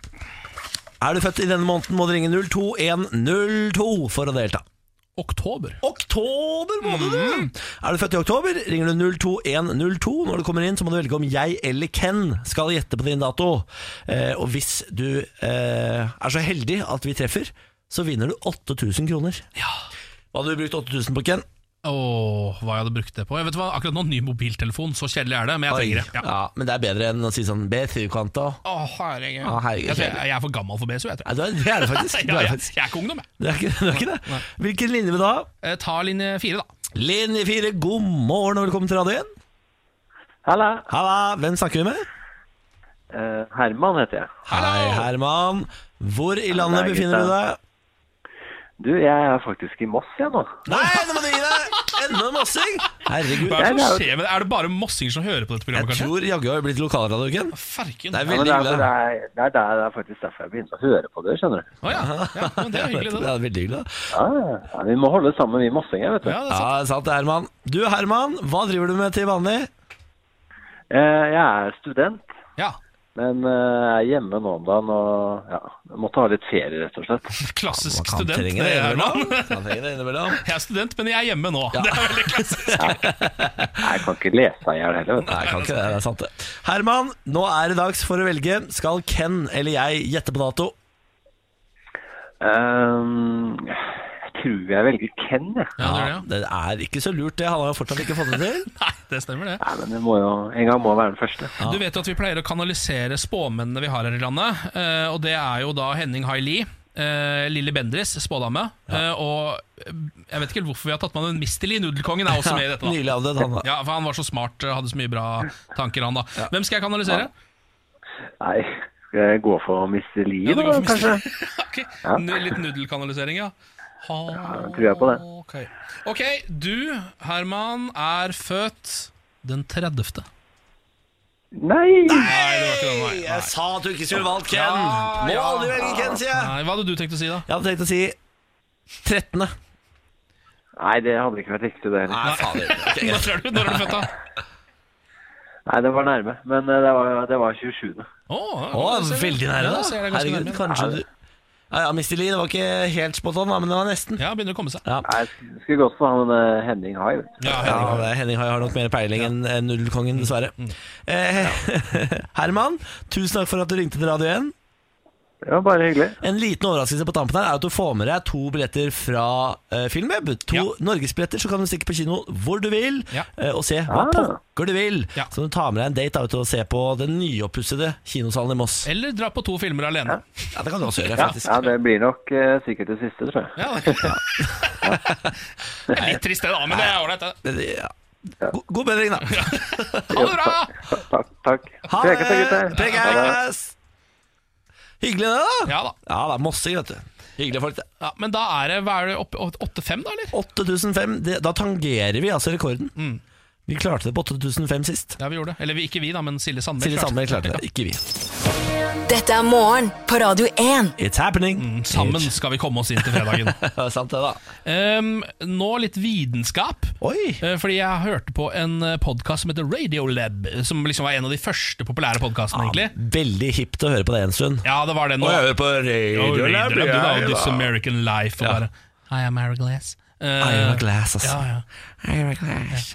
Speaker 1: Er du født i denne måneden, må du ringe 02102 for å delta.
Speaker 2: oktober.
Speaker 1: Oktober måned, du! Mhm. Er du født i oktober, ringer du 02102. Når du kommer inn, så må du velge om jeg eller Ken skal gjette på din dato. Eh, og hvis du eh, er så heldig at vi treffer, så vinner du 8000 kroner. Ja. Hva hadde du brukt 8000 på, Ken?
Speaker 2: Åh, hva jeg hadde brukt det på? Jeg vet hva, Akkurat nå, ny mobiltelefon. Så kjedelig er det, men jeg trenger
Speaker 1: ja.
Speaker 2: det. Ja.
Speaker 1: Men det er bedre enn å si sånn B20-kvanta.
Speaker 2: Å, herregud.
Speaker 1: Å, herregud.
Speaker 2: Jeg, tror jeg, jeg er for gammel for BSU, jeg tror.
Speaker 1: Nei, du er- det er det faktisk. Du er,
Speaker 2: Ja,
Speaker 1: det
Speaker 2: jeg,
Speaker 1: faktisk.
Speaker 2: jeg er ikke ungdom, jeg.
Speaker 1: Det er ikke, det er ikke det. Hvilken linje vil du ha?
Speaker 2: Eh, Ta linje fire, da.
Speaker 1: Linje 4, god morgen og velkommen til radioen.
Speaker 4: Halla.
Speaker 1: Halla, hvem snakker vi med?
Speaker 4: Eh, Herman heter jeg.
Speaker 1: Hei, Herman. Hvor i landet
Speaker 4: Hei,
Speaker 1: befinner du
Speaker 4: gutta.
Speaker 1: deg?
Speaker 4: Du, jeg er faktisk i Moss, jeg nå.
Speaker 1: Nei, nå må du gi deg! Enda en mossing! Herregud.
Speaker 2: Hva er det som
Speaker 4: det
Speaker 2: skjer med det? Er det bare mossinger som hører på dette programmet,
Speaker 1: Jeg
Speaker 2: kanskje?
Speaker 1: tror jaggu jeg har blitt lokalradio, Ken.
Speaker 2: Ferken.
Speaker 1: Det er
Speaker 4: Ja, men
Speaker 1: veldig
Speaker 4: det, er,
Speaker 1: hyggelig.
Speaker 4: det,
Speaker 1: da.
Speaker 4: er, det, er, der- det er faktisk derfor jeg begynte å høre på det, skjønner du.
Speaker 2: Å ja. ja, men det er
Speaker 1: Det
Speaker 2: hyggelig, det. da.
Speaker 1: er veldig hyggelig. da.
Speaker 4: Ja, ja, vi må holde sammen, vi mossinger, vet du.
Speaker 2: Ja, det er
Speaker 1: Ja,
Speaker 2: sant.
Speaker 1: det er sant det, Herman. Du, Herman, hva driver du med til vanlig?
Speaker 4: Eh, jeg er student,
Speaker 2: Ja.
Speaker 4: men eh, jeg er hjemme nå om dagen og ja, jeg måtte ha litt ferie, rett og slett.
Speaker 2: Klassisk
Speaker 1: Man kan
Speaker 2: student.
Speaker 1: trenge
Speaker 2: det
Speaker 1: det
Speaker 2: er man.
Speaker 1: innimellom. Man trenger det innimellom.
Speaker 2: Jeg er student, men jeg er hjemme nå. Det er veldig klassisk.
Speaker 4: Nei, jeg kan ikke lese i hjel heller, vet
Speaker 1: Nei, jeg kan ikke det. Det er sant, det. Herman, nå er det dags for å velge. Skal Ken eller jeg gjette på dato?
Speaker 4: du. Eh, jeg tror jeg velger Ken, jeg.
Speaker 2: Ja, det er det, ja.
Speaker 1: det er ikke så lurt, det. Han har jo fortsatt ikke fått det til.
Speaker 2: Nei, det stemmer, det.
Speaker 4: Nei, men det må jo, en gang må jeg være den første.
Speaker 2: Du vet jo at vi pleier å kanalisere spåmennene vi har her i landet, eh, og det er jo da Henning Haili. Uh, Lilly Bendriss, spådame. eh, og eh, jeg vet ikke helt hvorfor vi har tatt med han, men Mr. Lee Nudelkongen er også med i dette. da
Speaker 1: Nylig avdød, han da.
Speaker 2: Ja, for Han var så smart, eh, hadde så mye bra tanker, han da. Hvem skal jeg kanalisere?
Speaker 4: Nei, skal jeg gå for Mr. Lee,
Speaker 2: du
Speaker 4: da,
Speaker 2: går for Mr.
Speaker 4: kanskje?
Speaker 2: Ok, nu- Litt nudelkanalisering, ja. Ha, ja,
Speaker 4: tror jeg på det.
Speaker 2: ok, du, Herman, er født den 30.
Speaker 4: Nei!
Speaker 2: Nei, det var ikke den veien.
Speaker 1: Jeg sa at du ikke skulle valgt Ken!
Speaker 2: Ja,
Speaker 1: Må
Speaker 2: ja.
Speaker 1: aldri velge Ken, sier jeg!
Speaker 2: Nei, Hva hadde du tenkt å si, da?
Speaker 1: Jeg hadde tenkt å si 13.
Speaker 4: Nei, det hadde ikke vært riktig, det heller.
Speaker 1: Nei, fader. Ok,
Speaker 2: Når
Speaker 1: greit.
Speaker 2: er du, når er du født, da?
Speaker 4: Nei, det var nærme, men eh, det var, det var 27.
Speaker 2: Oh,
Speaker 1: Å, veldig nære, da. Herregud, kanskje du Ja, ja, Mr. Lee, det var ikke helt spot on, da, men det var nesten.
Speaker 2: Ja, begynner å komme seg.
Speaker 1: Ja.
Speaker 4: Nei, jeg sk- skulle gått for han eh, Henning Hai. vet du.
Speaker 2: Ja,
Speaker 1: Ja, Mm.
Speaker 2: Henning.
Speaker 1: det er Henning Hai har nok mer peiling enn enn Nudelkongen, dessverre. Eh, Herman, tusen takk for at du ringte til Radio 1.
Speaker 4: Det var bare hyggelig.
Speaker 1: En liten overraskelse på tampen her er at du får med deg to billetter fra eh, Filmweb. To
Speaker 2: Ja.
Speaker 1: norgesbilletter, så kan du stikke på kino hvor du vil
Speaker 2: Ja.
Speaker 1: eh, og se hva
Speaker 4: Ah.
Speaker 1: pokker du vil.
Speaker 2: Ja.
Speaker 1: Så du tar med deg en date da, ut og ser på den nyoppussede kinosalen i Moss.
Speaker 2: Eller dra på to filmer alene.
Speaker 1: Ja, det kan du også gjøre, faktisk.
Speaker 4: Ja, det blir nok eh, sikkert det siste, tror jeg.
Speaker 2: Ja, det Det er litt trist, det, da, men det er ålreit. det.
Speaker 1: Men, ja. God, god bedring, da.
Speaker 2: Ha det bra!
Speaker 4: Takk. takk.
Speaker 1: Ha det!
Speaker 4: Prekes, gutter.
Speaker 1: Prekes! Hyggelig, det, da.
Speaker 2: Ja da.
Speaker 1: Ja, det er mossing, vet du. Hyggelige folk, det.
Speaker 2: Ja, men da er det Hva er det oppe 8-5, da, eller?
Speaker 1: 8005. det- Da tangerer vi altså rekorden.
Speaker 2: Mm.
Speaker 1: Vi klarte det på 8005 sist.
Speaker 2: Ja, vi gjorde det. Eller vi- ikke vi, da, men Silje Sandberg.
Speaker 1: Silje
Speaker 2: klarte
Speaker 1: Sandberg
Speaker 2: det.
Speaker 1: klarte det, ikke vi.
Speaker 3: Dette er morgen på Radio 1.
Speaker 1: It's happening.
Speaker 2: Mm, Sammen skal vi komme oss inn til fredagen.
Speaker 1: Ja, sant det, da.
Speaker 2: Ehm, nå litt vitenskap.
Speaker 1: Oi!
Speaker 2: Eh, Fordi jeg hørte på en podkast som heter Radiolab, som liksom var en av de første populære
Speaker 1: Ah.
Speaker 2: podkastene, egentlig.
Speaker 1: Veldig hipt å høre på det en stund.
Speaker 2: Ja, det var det nå.
Speaker 1: hører på
Speaker 2: Radiolab, du da, og This American Life og bare Hi, I'm Mary Glass. Eh,
Speaker 1: Ira Glass, altså.
Speaker 2: Ja, ja.
Speaker 1: Ira Glass.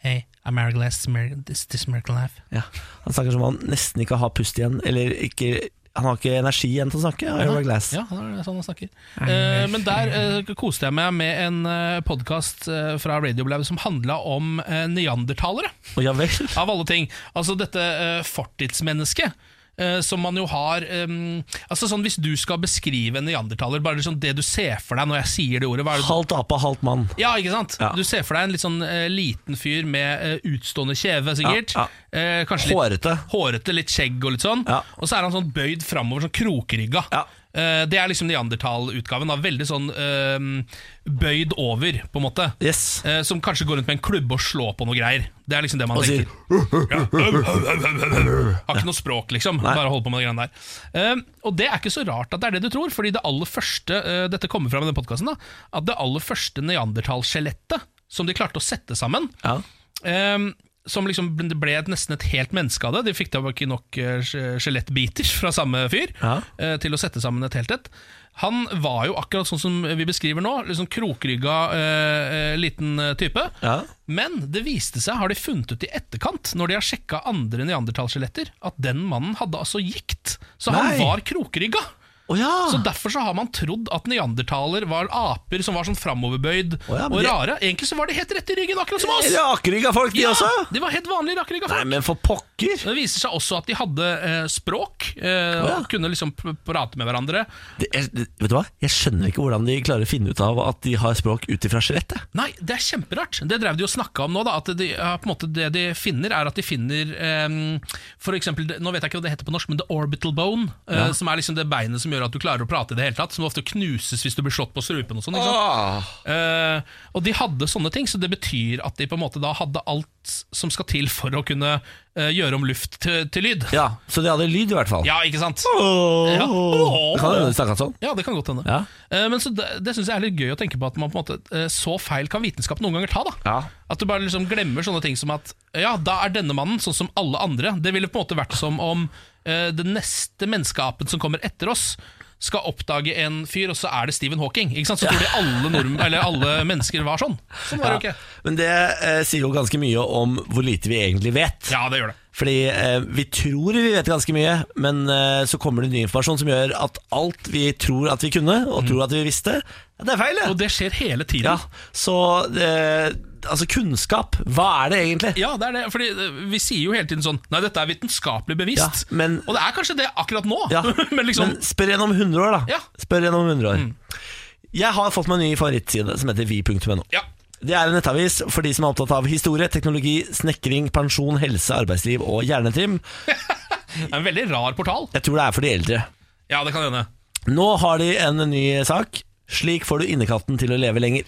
Speaker 2: Hey, I'm Mary Glass, this American- this, this American Life.
Speaker 1: Ja. Han snakker som om han nesten ikke har pust igjen, eller ikke Han har ikke energi igjen til å snakke. Ira Glass.
Speaker 2: Ja, det er sånn han snakker. Eh, men der eh, koste jeg meg med en uh, podkast fra Radiolab som handla om eh, neandertalere.
Speaker 1: Å, ja vel.
Speaker 2: Av alle ting. Altså dette eh, fortidsmennesket. eh, som man jo har em, Altså sånn Hvis du skal beskrive en neandertaler, bare liksom det du ser for deg når jeg sier det ordet hva er det?
Speaker 1: Halvt ape, halvt mann.
Speaker 2: Ja, ikke sant?
Speaker 1: Ja.
Speaker 2: Du ser for deg en litt sånn eh, liten fyr med eh, utstående kjeve, sikkert.
Speaker 1: Ja,
Speaker 2: Eh, kanskje litt
Speaker 1: Hårete.
Speaker 2: hårete, litt skjegg og litt sånn.
Speaker 1: Ja.
Speaker 2: Og så er han sånn bøyd framover, sånn krokrygga.
Speaker 1: Ja.
Speaker 2: Eh, det er liksom neandertal-utgaven. da. Veldig sånn eh, bøyd over, på en måte.
Speaker 1: Yes.
Speaker 2: Eh, som kanskje går rundt med en klubbe og slår på noe greier. Det er liksom det man
Speaker 1: Og sier
Speaker 2: tenker. Ja. Har ikke noe språk, liksom. Bare holder på med de greiene der. Eh, og det er ikke så rart at det er det du tror, fordi det aller første eh, Dette kommer fram i den podkasten, at det aller første neandertalskjelettet som de klarte å sette sammen,
Speaker 1: Ja.
Speaker 2: eh, som liksom ble- det ble et- nesten et helt menneske av det. De fikk da ikke nok eh, skje- skjelettbiter fra samme fyr
Speaker 1: Ja.
Speaker 2: eh, til å sette sammen et helt et. Han var jo akkurat sånn som vi beskriver nå, liksom krokrygga eh, eh, liten eh, type.
Speaker 1: Ja.
Speaker 2: Men det viste seg, har de funnet ut i etterkant, når de har sjekka andre neandertalskjeletter, at den mannen hadde altså gikt. Så
Speaker 1: Nei. Ah.
Speaker 2: han var krokrygga.
Speaker 1: Å ja!
Speaker 2: Så derfor så har man trodd at neandertaler var aper som var sånn framoverbøyd
Speaker 1: Å ja, men
Speaker 2: og
Speaker 1: de-
Speaker 2: rare. Egentlig så var de helt rett i ryggen, akkurat som oss!
Speaker 1: Rakrygga folk, de
Speaker 2: Ja,
Speaker 1: også?
Speaker 2: de var helt vanlige rakrygga
Speaker 1: Nei,
Speaker 2: folk.
Speaker 1: men for pokker!
Speaker 2: altså. Det viser seg også at de hadde eh, språk, eh,
Speaker 1: Å ja.
Speaker 2: og kunne liksom pr- prate med hverandre.
Speaker 1: Det er, vet du hva? Jeg skjønner ikke hvordan de klarer å finne ut av at de har språk ut ifra skjelettet.
Speaker 2: Nei, det er kjemperart. Det drev de jo snakka om nå. da At de, ja, på en måte Det de finner, er at de finner em, For eksempel, det- Nå vet jeg ikke hva det heter på norsk, men the orbital bone. eh, som er liksom det beinet som gjør at du klarer å prate i det hele tatt. Som ofte knuses hvis du blir slått på strupen og sånn. ikke sant? Eh, og de hadde sånne ting, så det betyr at de på en måte da hadde alt som skal til for å kunne eh, gjøre om luft til, til lyd.
Speaker 1: Ja, Så de hadde lyd, i hvert fall.
Speaker 2: Ja, ikke sant?
Speaker 1: Åh.
Speaker 2: Ja.
Speaker 1: Det kan hende de snakka sånn.
Speaker 2: Ja, det kan godt hende.
Speaker 1: Ja.
Speaker 2: Eh, men så det, det syns jeg er litt gøy å tenke på, at man på en måte eh, så feil kan vitenskap noen ganger ta. da
Speaker 1: Ja.
Speaker 2: At du bare liksom glemmer sånne ting som at ja, da er denne mannen sånn som alle andre. Det ville på en måte vært som om eh, den neste menneskeapen som kommer etter oss, skal oppdage en fyr, og så er det Stephen Hawking. Ikke sant? Så tror de alle, nordmenn- eller alle mennesker var sånn. Sånn var det jo ikke.
Speaker 1: Men det eh, sier jo ganske mye om hvor lite vi egentlig vet.
Speaker 2: Ja, det gjør det.
Speaker 1: Fordi eh, vi tror vi vet ganske mye, men eh, så kommer det ny informasjon som gjør at alt vi tror at vi kunne, og tror at vi visste, ja, det er feil.
Speaker 2: Og
Speaker 1: Det.
Speaker 2: det skjer hele tiden.
Speaker 1: Ja, så eh, altså kunnskap, hva er det egentlig?
Speaker 2: Ja, det er det. Fordi eh, vi sier jo hele tiden sånn Nei, dette er vitenskapelig bevist.
Speaker 1: Ja, men-
Speaker 2: og det er kanskje det akkurat nå.
Speaker 1: Ja,
Speaker 2: men liksom
Speaker 1: Men spør igjen om 100 år, da.
Speaker 2: Ja. Mm.
Speaker 1: Spør igjen om 100 år. Jeg har fått meg en ny favorittside som heter vi.no.
Speaker 2: Ja.
Speaker 1: Det er en nettavis for de som er opptatt av historie, teknologi, snekring, pensjon, helse, arbeidsliv og hjernetrim.
Speaker 2: Det er en veldig rar portal.
Speaker 1: Jeg tror det er for de eldre.
Speaker 2: Ja, det kan hende.
Speaker 1: Nå har de en ny sak. Slik får du innekatten til å leve lenger.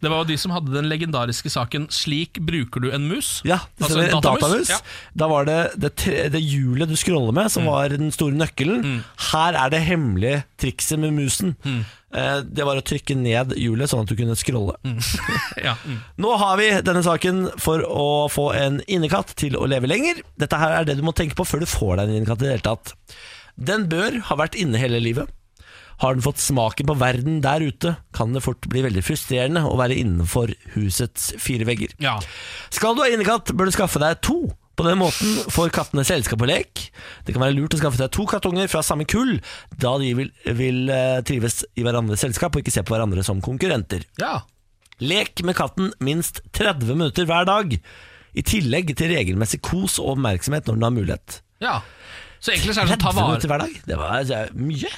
Speaker 2: Det var jo de som hadde den legendariske saken 'Slik bruker du en mus'.
Speaker 1: Ja, det
Speaker 2: Altså,
Speaker 1: stemmer. en datamus.
Speaker 2: datamus, ja.
Speaker 1: Da var det det, tre, det hjulet du scroller med, som var den store nøkkelen. Her er det hemmelige trikset med musen. Eh, Det var å trykke ned hjulet, sånn at du kunne scrolle.
Speaker 2: Ja, mm.
Speaker 1: Nå har vi denne saken for å få en innekatt til å leve lenger. Dette her er det du må tenke på før du får deg en innekatt i det hele tatt. Den bør ha vært inne hele livet. Har den fått smaken på verden der ute, kan det fort bli veldig frustrerende å være innenfor husets fire vegger.
Speaker 2: ja.
Speaker 1: Skal du ha innekatt, bør du skaffe deg to. På den måten får kattene selskap og lek. Det kan være lurt å skaffe seg to kattunger fra samme kull, da de vil, vil eh, trives i hverandres selskap og ikke se på hverandre som konkurrenter.
Speaker 2: ja.
Speaker 1: Lek med katten minst 30 minutter hver dag, i tillegg til regelmessig kos og oppmerksomhet når den har mulighet.
Speaker 2: ja. Så egentlig så
Speaker 1: 30
Speaker 2: er det sånn ta
Speaker 1: minutter
Speaker 2: vare
Speaker 1: hver dag, det var det er mye.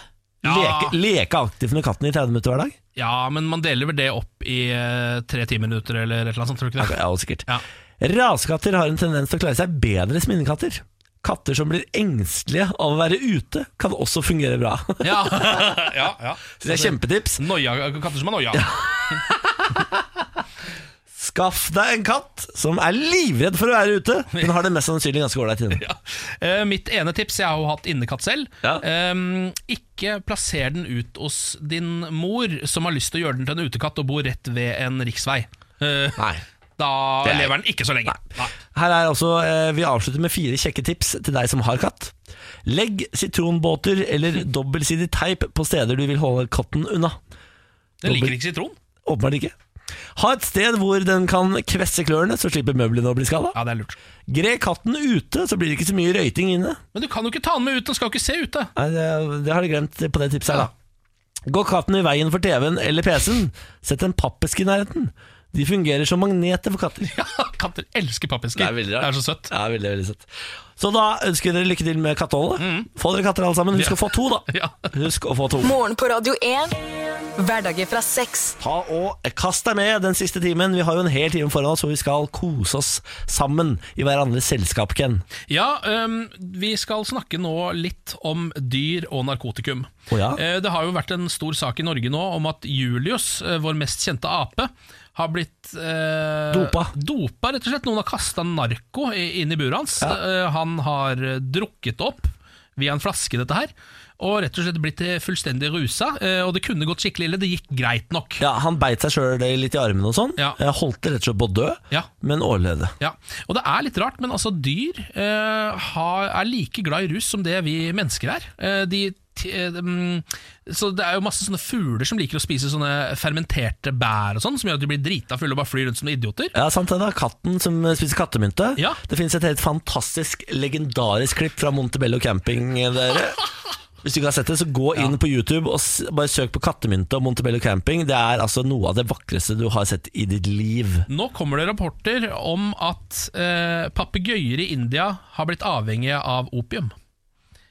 Speaker 2: Ja.
Speaker 1: Leke, leke aktivt med katten i 30 minutter hver dag?
Speaker 2: Ja, men man deler vel det opp i eh, tre timinutter eller et eller annet sånt, tror du ikke det?
Speaker 1: Ja, og sikkert.
Speaker 2: Ja.
Speaker 1: Rasekatter har en tendens til å klare seg bedre som innekatter. Katter som blir engstelige av å være ute, kan også fungere bra.
Speaker 2: Ja, ja, ja.
Speaker 1: Så det er kjempetips.
Speaker 2: Noia, katter som er noia.
Speaker 1: Skaff deg en katt som er livredd for å være ute, men har det mest sannsynlig ganske ålreit inne.
Speaker 2: Ja. Eh, mitt ene tips, jeg har jo hatt innekatt selv
Speaker 1: Ja.
Speaker 2: Ehm, Ikke plasser den ut hos din mor Som har lyst til å gjøre den til en utekatt Og bor rett ved en riksvei Eh,
Speaker 1: Nei.
Speaker 2: Da
Speaker 1: Det er-
Speaker 2: lever den ikke så lenge Nei.
Speaker 1: Her er altså, eh, Vi avslutter med fire kjekke tips til deg som har katt. Legg sitronbåter eller dobbeltsidig teip på steder du vil holde katten unna.
Speaker 2: Den liker ikke sitron
Speaker 1: Åpenbart ikke. Ha et sted hvor den kan kvesse klørne, så slipper møblene å bli skada.
Speaker 2: Ja, det er lurt
Speaker 1: Gre katten ute, så blir det ikke så mye røyting inne.
Speaker 2: Men du kan jo ikke ta den med ut, den skal jo ikke se ute
Speaker 1: Nei, det, det har de glemt på det tipset her, da. Gå katten i veien for TV-en eller PC-en. Sett en pappesk i nærheten. De fungerer som magneter for katter.
Speaker 2: ja, Katter elsker pappesker
Speaker 1: Det er veldig rart.
Speaker 2: så søtt
Speaker 1: Ja, veldig, veldig søtt. Så da ønsker vi dere lykke til med katteholdet. Få dere katter alle sammen. Husk å få to, da.
Speaker 2: Mm. Ja.
Speaker 1: Husk å få to.
Speaker 3: Morgen på Radio 1. Hverdager fra seks.
Speaker 1: Ta og Kast deg med den siste timen. Vi har jo en hel time foran oss, og vi skal kose oss sammen i hverandres selskap, Ken.
Speaker 2: Ja, øhm, vi skal snakke nå litt om dyr og narkotikum.
Speaker 1: Å ja?
Speaker 2: Eh, Det har jo vært en stor sak i Norge nå om at Julius, eh, vår mest kjente ape, har blitt eh,
Speaker 1: Dopa.
Speaker 2: dopa, rett og slett. Noen har kasta narko i- inn i buret hans. Eh, Han har eh, drukket opp. via en flaske, dette her. Og rett og slett blitt eh, fullstendig rusa. eh, Og det kunne gått skikkelig ille, det gikk greit nok.
Speaker 1: Ja, Han beit seg sjøl litt i armen og sånn.
Speaker 2: Ja.
Speaker 1: Eh, Holdt det rett og slett på å dø,
Speaker 2: Ja.
Speaker 1: men overlevde.
Speaker 2: Ja, og det er litt rart, men altså dyr eh, har, er like glad i rus som det vi mennesker er. Eh, de, t- eh, mm, så det er jo masse sånne fugler som liker å spise sånne fermenterte bær og sånn, som gjør at de blir drita fulle og bare flyr rundt som idioter.
Speaker 1: Ja, sant det da, Katten som spiser kattemynte.
Speaker 2: Ja.
Speaker 1: Det finnes et helt fantastisk, legendarisk klipp fra Montebello camping. eh, Dere. Hvis du ikke har sett det, så gå inn på YouTube og s- bare søk på kattemynte og Montebello camping. Det er altså noe av det vakreste du har sett i ditt liv.
Speaker 2: Nå kommer det rapporter om at eh, papegøyer i India har blitt avhengige av opium.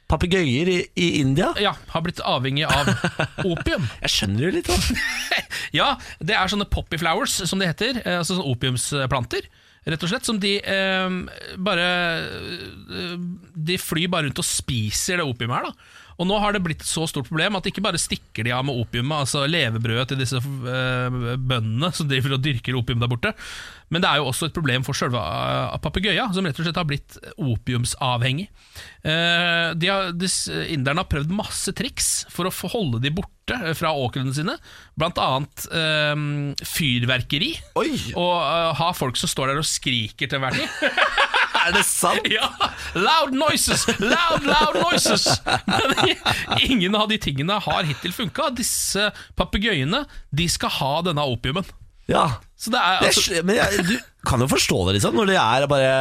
Speaker 1: Papegøyer i, i India?
Speaker 2: Ja, har blitt avhengige av opium.
Speaker 1: Jeg skjønner jo litt, da.
Speaker 2: Ja, det er sånne poppy flowers, som det heter. eh, Altså sånne opiumsplanter, rett og slett. Som de eh, bare eh, De flyr bare rundt og spiser det opiumet her, da. Og nå har det blitt et så stort problem at ikke bare stikker de av med opiumet, altså levebrødet til disse eh, bøndene som driver og dyrker opium der borte, men det er jo også et problem for sjølve eh, papegøyen, som rett og slett har blitt opiumsavhengig. Eh, de har, disse inderne har prøvd masse triks for å få holde de borte eh, fra åkrene sine, blant annet eh, fyrverkeri,
Speaker 1: Oi,
Speaker 2: og eh, ha folk som står der og skriker til hver tid.
Speaker 1: er det sant?
Speaker 2: Ja, loud noises, loud, loud noises Men ingen av de tingene har hittil funket Disse papegøyene, de skal ha denne opiumen
Speaker 1: Ja.
Speaker 2: Så det er
Speaker 1: Jeg,
Speaker 2: altså
Speaker 1: skj- men jeg, du kan jo forstå det, liksom, når det er bare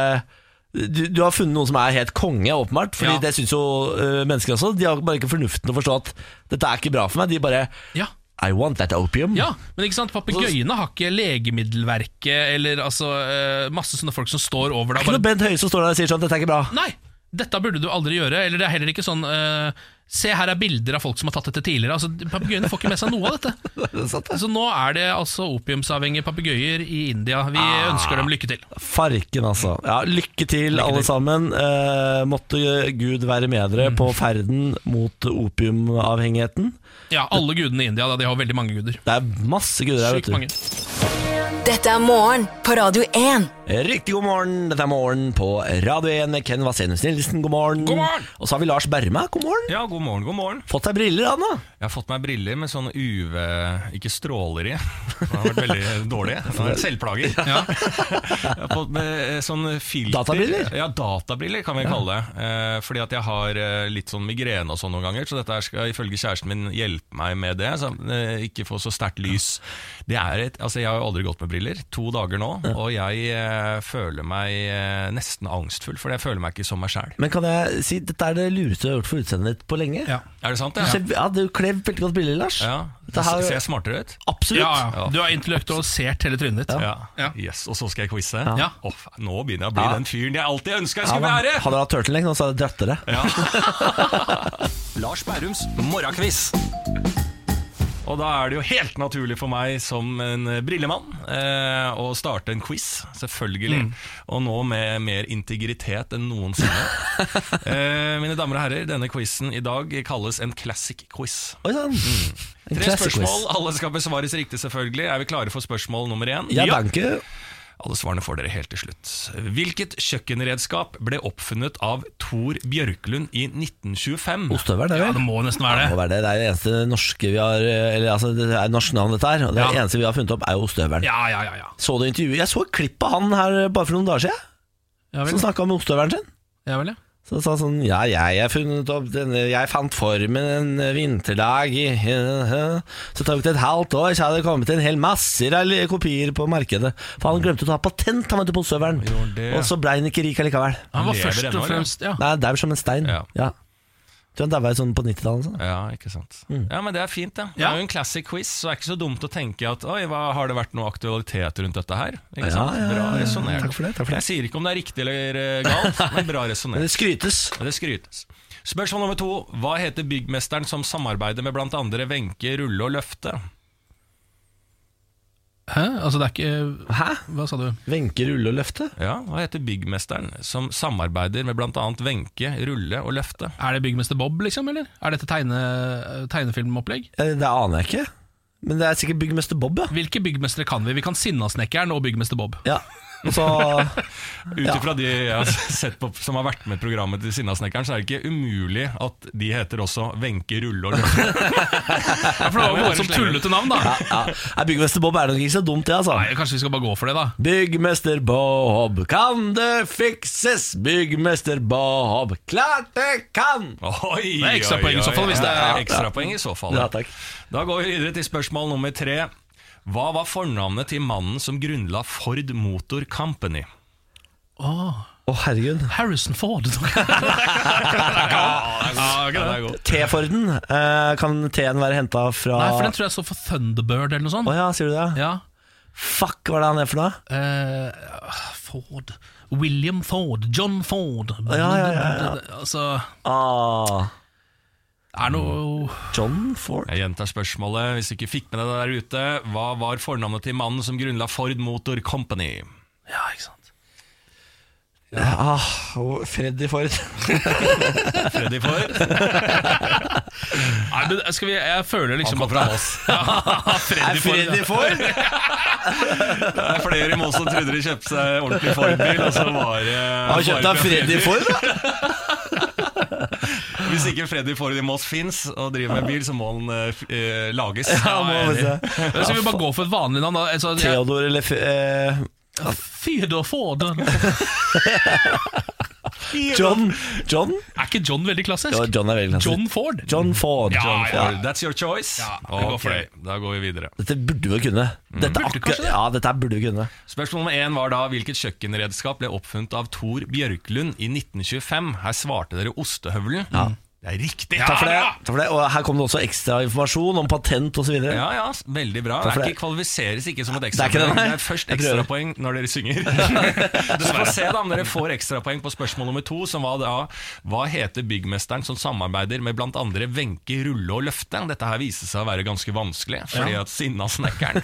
Speaker 1: du, du har funnet noen som er helt konge, åpenbart. Fordi
Speaker 2: Ja.
Speaker 1: det syns jo ø, mennesker også. De har bare ikke fornuften til å forstå at dette er ikke bra for meg. De bare
Speaker 2: ja.
Speaker 1: I want that opium.
Speaker 2: Ja, men ikke sant, papegøyene har ikke legemiddelverket Eller altså eh, masse sånne folk som står over deg
Speaker 1: Ikke
Speaker 2: og
Speaker 1: noe
Speaker 2: bare,
Speaker 1: Bent Høie som står der og sier sånn, dette er ikke bra.
Speaker 2: Nei, dette burde du aldri gjøre Eller det er heller ikke sånn eh, Se her er bilder av folk som har tatt dette tidligere altså, Papegøyene får ikke med seg noe av dette
Speaker 1: Det er sant, det.
Speaker 2: Så nå er det altså opiumsavhengige papegøyer i India Vi
Speaker 1: Ah.
Speaker 2: ønsker dem lykke til
Speaker 1: Farken, altså. Ja, lykke til, alle sammen. Eh, måtte Gud være med
Speaker 2: Mm.
Speaker 1: dere på ferden mot opiumavhengigheten.
Speaker 2: Ja, alle gudene i India, da, de har veldig mange guder.
Speaker 1: Det er masse guder her, vet
Speaker 2: Sykt
Speaker 1: du.
Speaker 2: mange.
Speaker 3: Dette er morgen på Radio 1.
Speaker 1: Riktig god morgen. Dette er Morgen på Radio 1 med Ken Vasenus Nilsen. God morgen.
Speaker 2: God morgen.
Speaker 1: Og så har vi Lars Berme. God morgen.
Speaker 5: Ja, god morgen, god morgen.
Speaker 1: Fått deg briller, Anna.
Speaker 5: Jeg har fått meg briller med sånn UV Ikke stråler i. Det har vært veldig dårlig. Det har vært selvplager. Jeg har fått med eh, sånn filter
Speaker 1: Databriller?
Speaker 5: Ja, databriller kan vi kalle det. Eh, fordi at jeg har eh, litt sånn migrene og sånn noen ganger, så dette her skal ifølge kjæresten min hjelpe meg med det. Så eh, ikke få så sterkt lys. Det er et, altså Jeg har jo aldri gått med briller. To dager nå, og jeg eh, føler meg eh, nesten angstfull, for jeg føler meg ikke som meg sjæl.
Speaker 1: Men kan jeg si, dette er det lureste du har gjort for utseendet ditt på lenge.
Speaker 2: Ja.
Speaker 5: Er det sant?
Speaker 1: Du,
Speaker 5: det?
Speaker 1: ser, ja, du kler veldig godt briller, Lars.
Speaker 5: Ja.
Speaker 1: Dette her-
Speaker 5: Ser jeg smartere ut?
Speaker 1: Absolutt.
Speaker 2: Ja, ja. Du har intellektualisert hele trynet ditt.
Speaker 5: Ja.
Speaker 2: Ja.
Speaker 5: Yes, og så skal jeg quize.
Speaker 2: Ja.
Speaker 5: Åh, faen, nå begynner jeg å bli
Speaker 1: Ja.
Speaker 5: den fyren jeg alltid ønska jeg
Speaker 1: Ja,
Speaker 5: skulle
Speaker 1: da.
Speaker 5: være!
Speaker 1: Hadde du hatt turtleneck nå, så hadde jeg dratt dere.
Speaker 5: Lars Bærums morgenkviss. Og da er det jo helt naturlig for meg som en eh, brillemann eh, å starte en quiz, selvfølgelig.
Speaker 2: Mm.
Speaker 5: Og nå med mer integritet enn noensinne. eh, mine damer og herrer, denne quizen i dag kalles en classic quiz.
Speaker 1: Oi sann.
Speaker 2: Mm.
Speaker 1: En
Speaker 5: Tre
Speaker 1: classic
Speaker 5: spørsmål,
Speaker 1: quiz.
Speaker 5: alle skal besvares riktig, selvfølgelig. Er vi klare for spørsmål nummer én?
Speaker 1: Ja, danke.
Speaker 5: Alle svarene får dere helt til slutt. Hvilket kjøkkenredskap ble oppfunnet av Thor Bjørklund i 1925?
Speaker 1: Ostehøvel, det
Speaker 2: Ja,
Speaker 1: vel?
Speaker 2: det må jo nesten være
Speaker 1: Det må
Speaker 2: det.
Speaker 1: være det. Det er det eneste norske vi har Eller altså, det er norsk navn, dette her. Og det, er
Speaker 2: Ja.
Speaker 1: det eneste vi har funnet opp, er jo ostehøvelen.
Speaker 2: Ja, ja, ja. ja.
Speaker 1: Så du intervjuet? Jeg så et klipp av han her eh, bare for noen dager siden,
Speaker 2: Ja vel,
Speaker 1: som snakka om ostehøvelen sin.
Speaker 2: ja. Vel, ja.
Speaker 1: Så han sa sånn Ja, jeg, jeg, funnet opp denne, jeg fant formen en vinterdag i Så tok det et halvt år, så hadde det kommet en hel masser av li- kopier på markedet. For han glemte å ta patent, han vet du, på ostehøvelen.
Speaker 5: Gjorde det.
Speaker 1: Og så ble han ikke rik allikevel.
Speaker 2: Han var
Speaker 5: lever
Speaker 2: først
Speaker 5: ennå,
Speaker 2: og
Speaker 5: eller?
Speaker 2: fremst ja.
Speaker 1: Nei, daur som en stein.
Speaker 5: Ja.
Speaker 1: Ja. Tror han daua sånn på 90-tallet. sånn.
Speaker 5: Ja, ikke sant. Ja, men Det er fint, da. Det
Speaker 2: Ja.
Speaker 5: er jo en classic quiz, så det er ikke så dumt å tenke at Oi, hva, har det vært noe aktualitet rundt dette her? Ikke
Speaker 1: Ja,
Speaker 5: sant?
Speaker 1: ja,
Speaker 5: Bra
Speaker 1: ja, ja.
Speaker 5: resonnert.
Speaker 1: Takk for det, takk for det.
Speaker 5: Jeg sier ikke om det er riktig eller eh, galt, men bra
Speaker 1: Men
Speaker 5: resonnert.
Speaker 1: det skrytes.
Speaker 5: Det skrytes. Spørsmål nummer to. Hva heter byggmesteren som samarbeider med blant andre Wenche, Rulle og Løfte?
Speaker 2: Hæ? Altså, det er ikke
Speaker 1: Hæ?
Speaker 2: Hva sa du?
Speaker 1: Wenche Rulle og Løfte?
Speaker 5: Ja, Hva heter byggmesteren som samarbeider med blant annet Wenche, Rulle og Løfte?
Speaker 2: Er det Byggmester Bob, liksom? eller? Er dette tegne, tegnefilmopplegg?
Speaker 1: Eh, Det aner jeg ikke. Men det er sikkert byggmester Bob, ja.
Speaker 2: Hvilke byggmestere kan vi? Vi kan Sinnasnekkeren og Byggmester Bob.
Speaker 1: ja. Og så
Speaker 5: Ut ifra de jeg har sett på som har vært med i programmet til Sinnasnekkeren, så er det ikke umulig at de heter også Wenche Rulle og Løkke.
Speaker 2: Ja, for det var jo våre som tullete navn, da.
Speaker 1: ja, ja. Nei, Byggmester Bob er nok ikke så dumt, det, altså.
Speaker 2: Nei, Kanskje vi skal bare gå for det, da.
Speaker 1: Byggmester Bob, kan det fikses? Byggmester Bob, klart det kan!
Speaker 5: Oi,
Speaker 2: Det er ekstrapoeng i så fall, hvis det er-
Speaker 5: er ekstrapoeng i så fall.
Speaker 1: Ja, takk.
Speaker 5: Da går vi videre til spørsmål nummer tre. Hva var fornavnet til mannen som grunnla Ford Motor Company?
Speaker 1: Å, herregud.
Speaker 2: Harrison Ford.
Speaker 5: Ja, det er godt.
Speaker 1: T-Forden, eh, kan T-en være henta fra
Speaker 2: Nei, for den tror jeg så for Thunderbird eller noe sånt.
Speaker 1: Å ja, sier du det?
Speaker 2: Ja.
Speaker 1: Fuck, hva er det han er for noe?
Speaker 2: Eh, Ford William Ford. John Ford.
Speaker 1: ja, ja, ja.
Speaker 2: Altså
Speaker 1: Ah,
Speaker 2: Er noe
Speaker 1: John Ford.
Speaker 5: Jeg gjentar spørsmålet hvis du ikke fikk med deg det der ute. Hva var fornavnet til mannen som grunnla Ford Motor Company?
Speaker 2: Ja, ikke sant.
Speaker 1: Ah, og Freddy Ford.
Speaker 5: Freddy Ford?
Speaker 2: Nei, men skal vi Jeg føler
Speaker 5: Han
Speaker 2: liksom
Speaker 5: kom
Speaker 2: at
Speaker 5: fra Moss.
Speaker 1: Er Freddy Ford?
Speaker 5: Det er flere i Moss som trodde de kjøpte seg ordentlig Ford-bil, og så var det
Speaker 1: Har du kjøpt
Speaker 5: bare-
Speaker 1: deg Freddy Ford, da?
Speaker 5: Hvis ikke Freddy Ford i Moss fins og driver med bil, så må han eh, f- eh, lages.
Speaker 1: Ja, må
Speaker 5: jeg er
Speaker 1: vi
Speaker 5: enig.
Speaker 1: se.
Speaker 2: Men Skal vi bare gå for et vanlig navn, da? Altså, jeg-
Speaker 1: Theodor eller F- eh,
Speaker 2: Theodor Ford.
Speaker 1: John? John?
Speaker 2: Er ikke John veldig klassisk?
Speaker 1: Ja, John er veldig klassisk.
Speaker 2: John Ford.
Speaker 1: John Ford.
Speaker 2: Mm. Ja,
Speaker 1: John
Speaker 2: ja.
Speaker 1: Ford.
Speaker 5: That's your choice.
Speaker 2: Ja, vi går for
Speaker 5: Ok,
Speaker 2: det.
Speaker 5: Da går vi videre.
Speaker 1: Dette burde vi kunne. Dette,
Speaker 2: Mm. Burde
Speaker 1: akkurat-
Speaker 2: kanskje det.
Speaker 1: ja, dette her burde vi kunne.
Speaker 5: Spørsmål nummer én var da hvilket kjøkkenredskap ble oppfunnet av Thor Bjørklund i 1925. Her svarte dere ostehøvelen. Det er riktig!
Speaker 1: Takk for det. Takk for det. Og her kom det også ekstra informasjon om patent osv.
Speaker 5: Ja, ja, veldig bra.
Speaker 1: Takk for
Speaker 5: Det er
Speaker 1: det.
Speaker 5: ikke kvalifiseres ikke som et
Speaker 1: er ikke det,
Speaker 5: ekstrapoeng. Det,
Speaker 1: nei.
Speaker 5: er først
Speaker 1: Jeg prøver.
Speaker 5: ekstrapoeng når dere synger. Du får se da om dere får ekstrapoeng på spørsmål nummer to, som var da Hva heter byggmesteren som samarbeider med blant andre Wenche Rulle og Løfte? Dette her viste seg å være ganske vanskelig, fordi at Sinna Snekkeren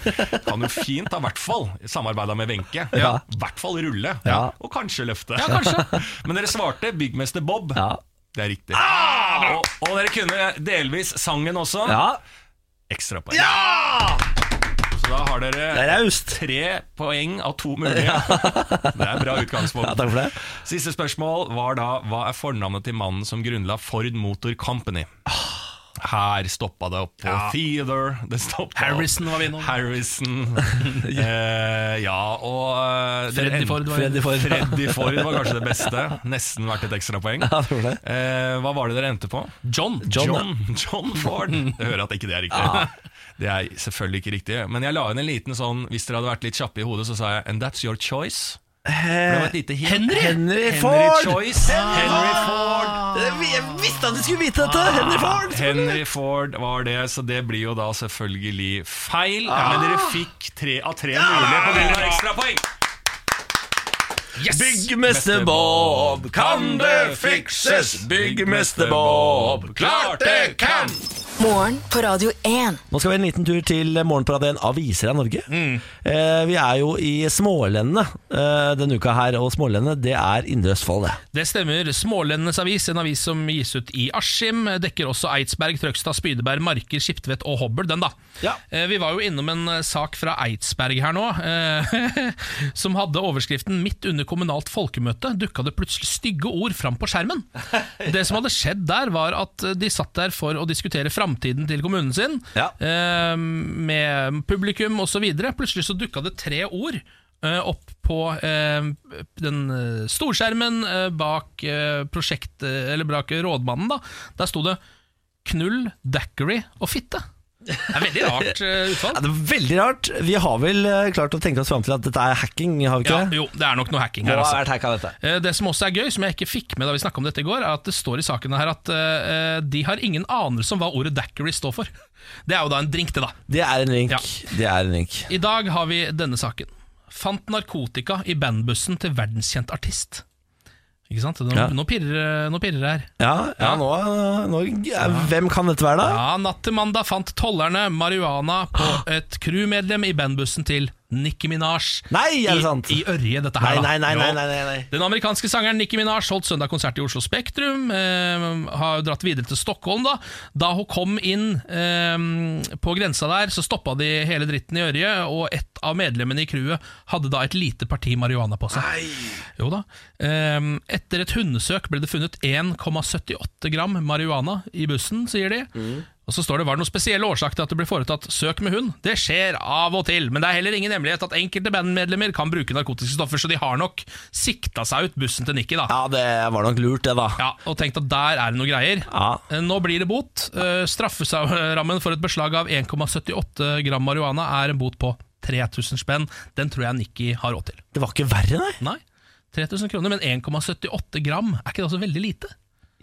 Speaker 5: kan jo fint ha i hvert fall samarbeida med Wenche. I
Speaker 1: Ja.
Speaker 5: hvert fall Rulle,
Speaker 1: Ja.
Speaker 5: og kanskje Løfte.
Speaker 2: Ja, kanskje.
Speaker 5: Men dere svarte byggmester Bob.
Speaker 1: Ja. Ah,
Speaker 5: Det er riktig. og, og dere kunne delvis sangen også.
Speaker 1: ja.
Speaker 5: Ekstrapoeng. Så da har
Speaker 1: Det
Speaker 5: dere
Speaker 1: er raust.
Speaker 5: tre poeng av to mulige. Det er bra utgangspunkt.
Speaker 1: Ja, takk for det.
Speaker 5: Siste spørsmål var da hva er fornavnet til mannen som grunnla Ford Motor Company?
Speaker 1: Ah.
Speaker 5: Her stoppa det opp på Theodore. Det stoppa
Speaker 2: Harrison var vi innom.
Speaker 5: opp. Harrison. eh, ja, og eh, det
Speaker 2: Freddy
Speaker 5: en-
Speaker 2: Ford var
Speaker 1: Freddy Ford.
Speaker 5: Freddy Ford var kanskje det beste. Nesten verdt et ekstrapoeng.
Speaker 1: Ja, det var det.
Speaker 5: Eh, hva var det dere endte på?
Speaker 2: John.
Speaker 1: John,
Speaker 5: John, John Ford. Jeg hører at ikke det er riktig. Det er selvfølgelig ikke riktig. Men jeg la inn en liten sånn Hvis dere hadde vært litt kjappe i hodet, så sa jeg And that's your choice. For det var et lite hint.
Speaker 2: Henry.
Speaker 1: Eh, Henry
Speaker 5: Henry
Speaker 1: Ford! Eh,
Speaker 5: Choice. Henry Ford.
Speaker 1: Jeg visste at de skulle vite
Speaker 2: Ah,
Speaker 1: dette! Henry Ford!
Speaker 5: Henry Ford var det, så det blir jo da selvfølgelig feil.
Speaker 1: Ah.
Speaker 5: Men dere fikk tre av tre mulige på grunn av ekstrapoeng.
Speaker 2: Yes!
Speaker 1: Byggmester Bob, kan det fikses? Byggmester Bob, klart det kan!
Speaker 3: Morgen på Radio 1.
Speaker 1: Nå skal vi en liten tur til Morgenparadien Aviser av Norge. Eh, vi er jo i Smålendene eh, denne uka her, og Smålendene det er Indre Østfold, det.
Speaker 2: Det stemmer. Smålendenes avis, en avis som gis ut i Askim, dekker også Eidsberg, Trøgstad, Spydeberg, Marker, Skiptvet og Hobøl, den da.
Speaker 1: Ja.
Speaker 2: Eh, Vi var jo innom en eh, sak fra Eidsberg her nå, eh, som hadde overskriften 'Midt under kommunalt folkemøte dukka det plutselig stygge ord fram på skjermen'. Det som hadde skjedd der, var at eh, de satt der for å diskutere framtiden til kommunen sin,
Speaker 1: Ja.
Speaker 2: eh, med publikum osv. Plutselig så dukka det tre ord eh, opp på eh, den eh, storskjermen eh, bak eh, prosjekt... eh, Eller bak rådmannen, da. Der sto det 'knull, daiquiri og fitte'. Det er veldig rart eh,
Speaker 1: Ja,
Speaker 2: utfall.
Speaker 1: det er veldig rart. Vi har vel eh, klart å tenke oss fram til at dette er hacking, har vi
Speaker 2: Ja,
Speaker 1: ikke det?
Speaker 2: jo, det er nok noe hacking
Speaker 1: Hva
Speaker 2: her, altså.
Speaker 1: har vært hacka, dette?
Speaker 2: Eh, Det som også er gøy, som jeg ikke fikk med da vi snakka om dette i går, er at det står i saken her at eh, de har ingen anelse om hva ordet daiquiri står for. Det er jo da en drink, det, da.
Speaker 1: Det er en link.
Speaker 2: Ja.
Speaker 1: Det er en link.
Speaker 2: I dag har vi denne saken. Fant narkotika i bandbussen til verdenskjent artist. Ikke sant? Nå,
Speaker 1: Ja.
Speaker 2: nå, pirrer, eh, nå pirrer det her.
Speaker 1: Ja, ja nå, nå ja, Hvem kan dette være, da? Ah.
Speaker 2: Ja, Natt til mandag fant tollerne marihuana på et crewmedlem i bandbussen til Nicki Minaj
Speaker 1: Nei, er det sant?
Speaker 2: i, i Ørje. Dette
Speaker 1: Nei,
Speaker 2: her, da.
Speaker 1: nei, nei,
Speaker 2: Jo.
Speaker 1: nei, nei, nei, nei.
Speaker 2: Den amerikanske sangeren Nicki Minaj holdt søndag konsert i Oslo Spektrum. Eh, har dratt videre til Stockholm. Da Da hun kom inn eh, på grensa der, så stoppa de hele dritten i Ørje, og et av medlemmene i crewet hadde da et lite parti marihuana på seg. Jo da. Eh, etter et hundesøk ble det funnet 1,78 gram marihuana i bussen, sier de.
Speaker 1: Mm.
Speaker 2: Og så står det, Var det noen spesiell årsak til at det ble foretatt søk med hund? Det skjer av og til, men det er heller ingen hemmelighet at enkelte bandmedlemmer kan bruke narkotiske stoffer, så de har nok sikta seg ut bussen til Nikki, da.
Speaker 1: Ja, det var nok lurt, det, da.
Speaker 2: Ja, Og tenkt at der er det noe greier.
Speaker 1: Ja.
Speaker 2: Eh, Nå blir det bot. Eh, Strafferammen for et beslag av 1,78 gram marihuana er en bot på 3000 spenn. Den tror jeg Nikki har råd til.
Speaker 1: Det var ikke verre, nei.
Speaker 2: Nei, 3000 kroner, men 1,78 gram, er ikke det også veldig lite?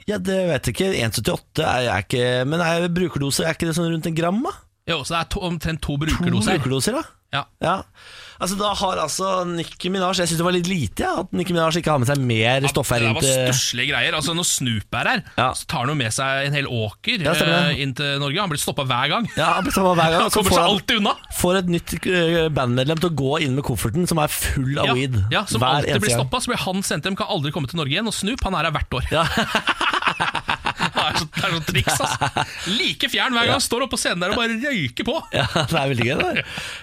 Speaker 1: Ja, det vet jeg ikke. 1,78 er, er ikke Men er brukerdoser, er ikke det sånn rundt en gram, da?
Speaker 2: Jo, så det er to, omtrent to
Speaker 1: To
Speaker 2: brukerdoser.
Speaker 1: brukerdoser, da?
Speaker 2: Ja.
Speaker 1: Ja. Altså, da har altså Nicki Minaj Jeg syns det var litt lite, ja, at Nicki Minaj ikke har med seg mer stoff her
Speaker 2: det
Speaker 1: inn
Speaker 2: var
Speaker 1: til
Speaker 2: stusslige greier. Altså Når Snoop er her,
Speaker 1: Ja.
Speaker 2: så tar han jo med seg en hel åker
Speaker 1: Ja, stemmer det.
Speaker 2: eh, inn til Norge. Han blir stoppa hver gang.
Speaker 1: Ja, han blir sammen hver gang.
Speaker 2: Han
Speaker 1: og Så
Speaker 2: kommer
Speaker 1: får
Speaker 2: seg
Speaker 1: han
Speaker 2: alltid unna!
Speaker 1: får et nytt eh, bandmedlem til å gå inn med kofferten som er full av
Speaker 2: Ja,
Speaker 1: weed.
Speaker 2: ja, som
Speaker 1: hver
Speaker 2: alltid
Speaker 1: eneste
Speaker 2: blir
Speaker 1: gang.
Speaker 2: stoppa. Så blir han sendt hjem, kan aldri komme til Norge igjen. Og Snoop han er her hvert år. det er så- det er sånn triks, altså. Like fjern hver gang. Står oppe på scenen der og bare røyker på.
Speaker 1: Ja, det er veldig gøy det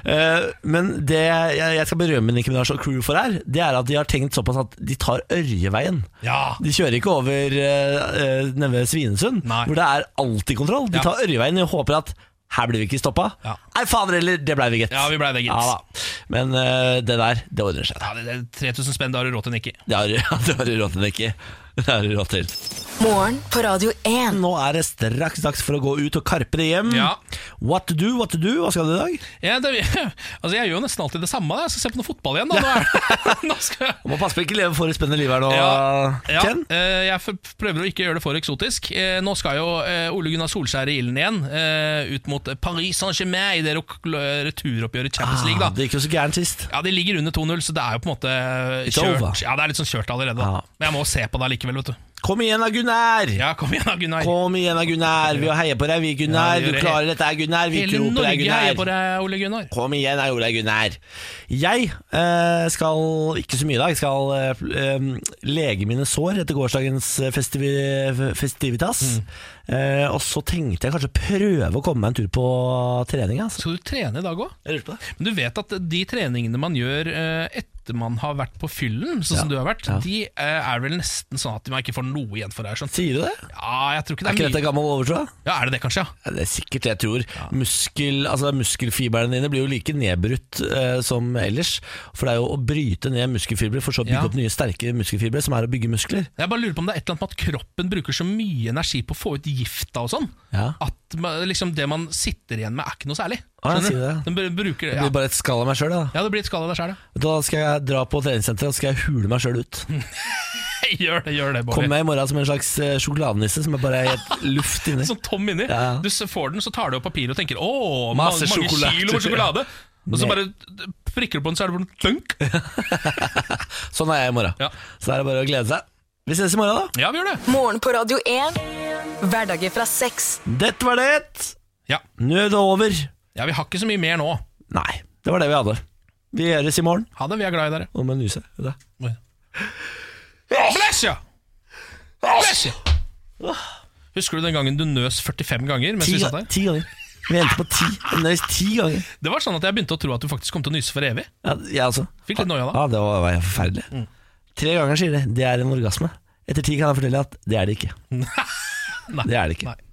Speaker 1: der. Eh, Men det jeg jeg skal berømme Nicki Minaj og crew for her, det er at de har tenkt såpass at de tar Ørjeveien.
Speaker 2: Ja.
Speaker 1: De kjører ikke over uh, nede ved Svinesund,
Speaker 2: Nei.
Speaker 1: hvor det er alltid kontroll. De
Speaker 2: Ja.
Speaker 1: tar Ørjeveien og håper at her blir vi ikke stoppa.
Speaker 2: Ja.
Speaker 1: Nei, fader heller, det blei vi, gitt.
Speaker 2: Ja, vi blei det, gitt.
Speaker 1: Ja, da. Men eh, det der, det ordner seg.
Speaker 2: Ja, det er 3000 spenn, det har du råd til, Nikki.
Speaker 1: Det har ja, det har du råd til, Nikki. Det har du råd til.
Speaker 3: Morgen på Radio 1.
Speaker 1: Nå er det straks dags for å gå ut og karpe det hjem.
Speaker 2: Ja.
Speaker 1: What to do, what to do? Hva skal du i dag?
Speaker 2: Ja, det, altså jeg gjør jo nesten alltid det samme. Da. Jeg skal se på noe fotball igjen. Da. Nå er, nå skal, jeg-
Speaker 1: Må passe på ikke leve for et spennende liv her nå,
Speaker 2: ja,
Speaker 1: Ken.
Speaker 2: eh, jeg f- prøver å ikke gjøre det for eksotisk. Eh, Nå skal jo eh, Ole Gunnar Solskjær i ilden igjen, eh, ut mot Paris Saint-Germain i det rok- returoppgjøret i Champions League.
Speaker 1: Ah,
Speaker 2: Da.
Speaker 1: det gikk jo så gærent sist.
Speaker 2: Ja, De ligger under 2-0, så det er jo på en måte eh,
Speaker 1: It's over.
Speaker 2: kjørt. Ja, det er litt sånn kjørt allerede.
Speaker 1: Ja.
Speaker 2: Da. Men jeg må se på det likevel, vet du.
Speaker 1: Kom igjen da, Gunnar!
Speaker 2: Ja, kom igjen da, Gunnar.
Speaker 1: Kom igjen da, Gunnar! Vi heier på deg, vi, Gunnar.
Speaker 2: Ja, vi
Speaker 1: du
Speaker 2: gjør det.
Speaker 1: klarer dette, her, Gunnar. Vi
Speaker 2: Hele
Speaker 1: tror på
Speaker 2: Norge
Speaker 1: deg,
Speaker 2: heier på
Speaker 1: Gunnar.
Speaker 2: deg, Ole Gunnar.
Speaker 1: Kom igjen da, Ole Gunnar. Jeg eh, skal ikke så mye i dag. Jeg skal eh, pl- eh, lege mine sår etter gårsdagens eh, festivi festivitas.
Speaker 2: Mm.
Speaker 1: Eh, og så tenkte jeg kanskje prøve å komme meg en tur på trening. Altså.
Speaker 2: Skal du trene i dag òg?
Speaker 1: Jeg lurte på det.
Speaker 2: Men du vet at de treningene man gjør eh, etter man har vært på fyllen, sånn som du har vært,
Speaker 1: ja.
Speaker 2: de eh, er vel nesten sånn at man ikke får noe igjen for det. her, Sånn.
Speaker 1: Sier du det?
Speaker 2: Ja, jeg tror ikke
Speaker 1: Er ikke
Speaker 2: det er mye.
Speaker 1: dette gammel overtro?
Speaker 2: Ja, er det det, kanskje? ja?
Speaker 1: Ja, Det er sikkert det jeg tror. Muskel, altså muskelfibrene dine blir jo like nedbrutt eh, som ellers. For det er jo å bryte ned muskelfibre for så å bygge
Speaker 2: Ja.
Speaker 1: opp nye sterke muskelfibre, som er å bygge muskler.
Speaker 2: Jeg bare lurer på om det er et eller annet med at kroppen bruker så mye energi på å få ut gifta og sånn,
Speaker 1: Ja.
Speaker 2: at man, liksom det man sitter igjen med, er ikke noe særlig.
Speaker 1: Ah, jeg
Speaker 2: Skjønner
Speaker 1: sier det.
Speaker 2: du? Den br- bruker,
Speaker 1: Det
Speaker 2: ja.
Speaker 1: blir bare et skall av meg sjøl, da.
Speaker 2: ja, det blir et skall av deg sjæl, ja.
Speaker 1: Da skal jeg dra på treningssenteret og skal jeg hule meg sjøl ut.
Speaker 2: Gjør det, gjør det, Bård.
Speaker 1: Kommer jeg i morgen som en slags eh, sjokoladenisse som er bare helt luft inni.
Speaker 2: Sånn tom inni.
Speaker 1: Ja, ja.
Speaker 2: Du s- får den, så tar du opp papiret og tenker 'Å, ma-
Speaker 1: Masse
Speaker 2: mange
Speaker 1: sjokolade.
Speaker 2: kilo med sjokolade'. Og så
Speaker 1: Nei.
Speaker 2: bare prikker du på den, så er det bare en klunk.
Speaker 1: Sånn er jeg i morgen.
Speaker 2: Ja.
Speaker 1: Så er det bare å glede seg. Vi ses i morgen, da.
Speaker 2: Ja, vi gjør det.
Speaker 3: Morgen på Radio 1. Hverdager fra seks.
Speaker 1: Dette var det.
Speaker 2: Ja.
Speaker 1: Nå er det over.
Speaker 2: ja, vi har ikke så mye mer nå.
Speaker 1: Nei, det var det vi hadde. Vi høres i morgen.
Speaker 2: Ha det, vi er glad i dere.
Speaker 1: Nå må jeg nyse. Det er det.
Speaker 2: Bless you! Bless you! Husker du den gangen du nøs 45 ganger mens
Speaker 1: Ti,
Speaker 2: vi satt her?
Speaker 1: ti ganger. Vi endte på ti. Nøys ti ganger.
Speaker 2: Det var sånn at jeg begynte å tro at du faktisk kom til å nyse for evig.
Speaker 1: Ja, jeg også.
Speaker 2: Fikk litt noia da.
Speaker 1: Ja, det var, var helt forferdelig. Tre ganger sier de det er en orgasme. Etter ti kan jeg fortelle at det er det ikke.
Speaker 2: Nei.
Speaker 1: Det er det ikke.
Speaker 2: Nei.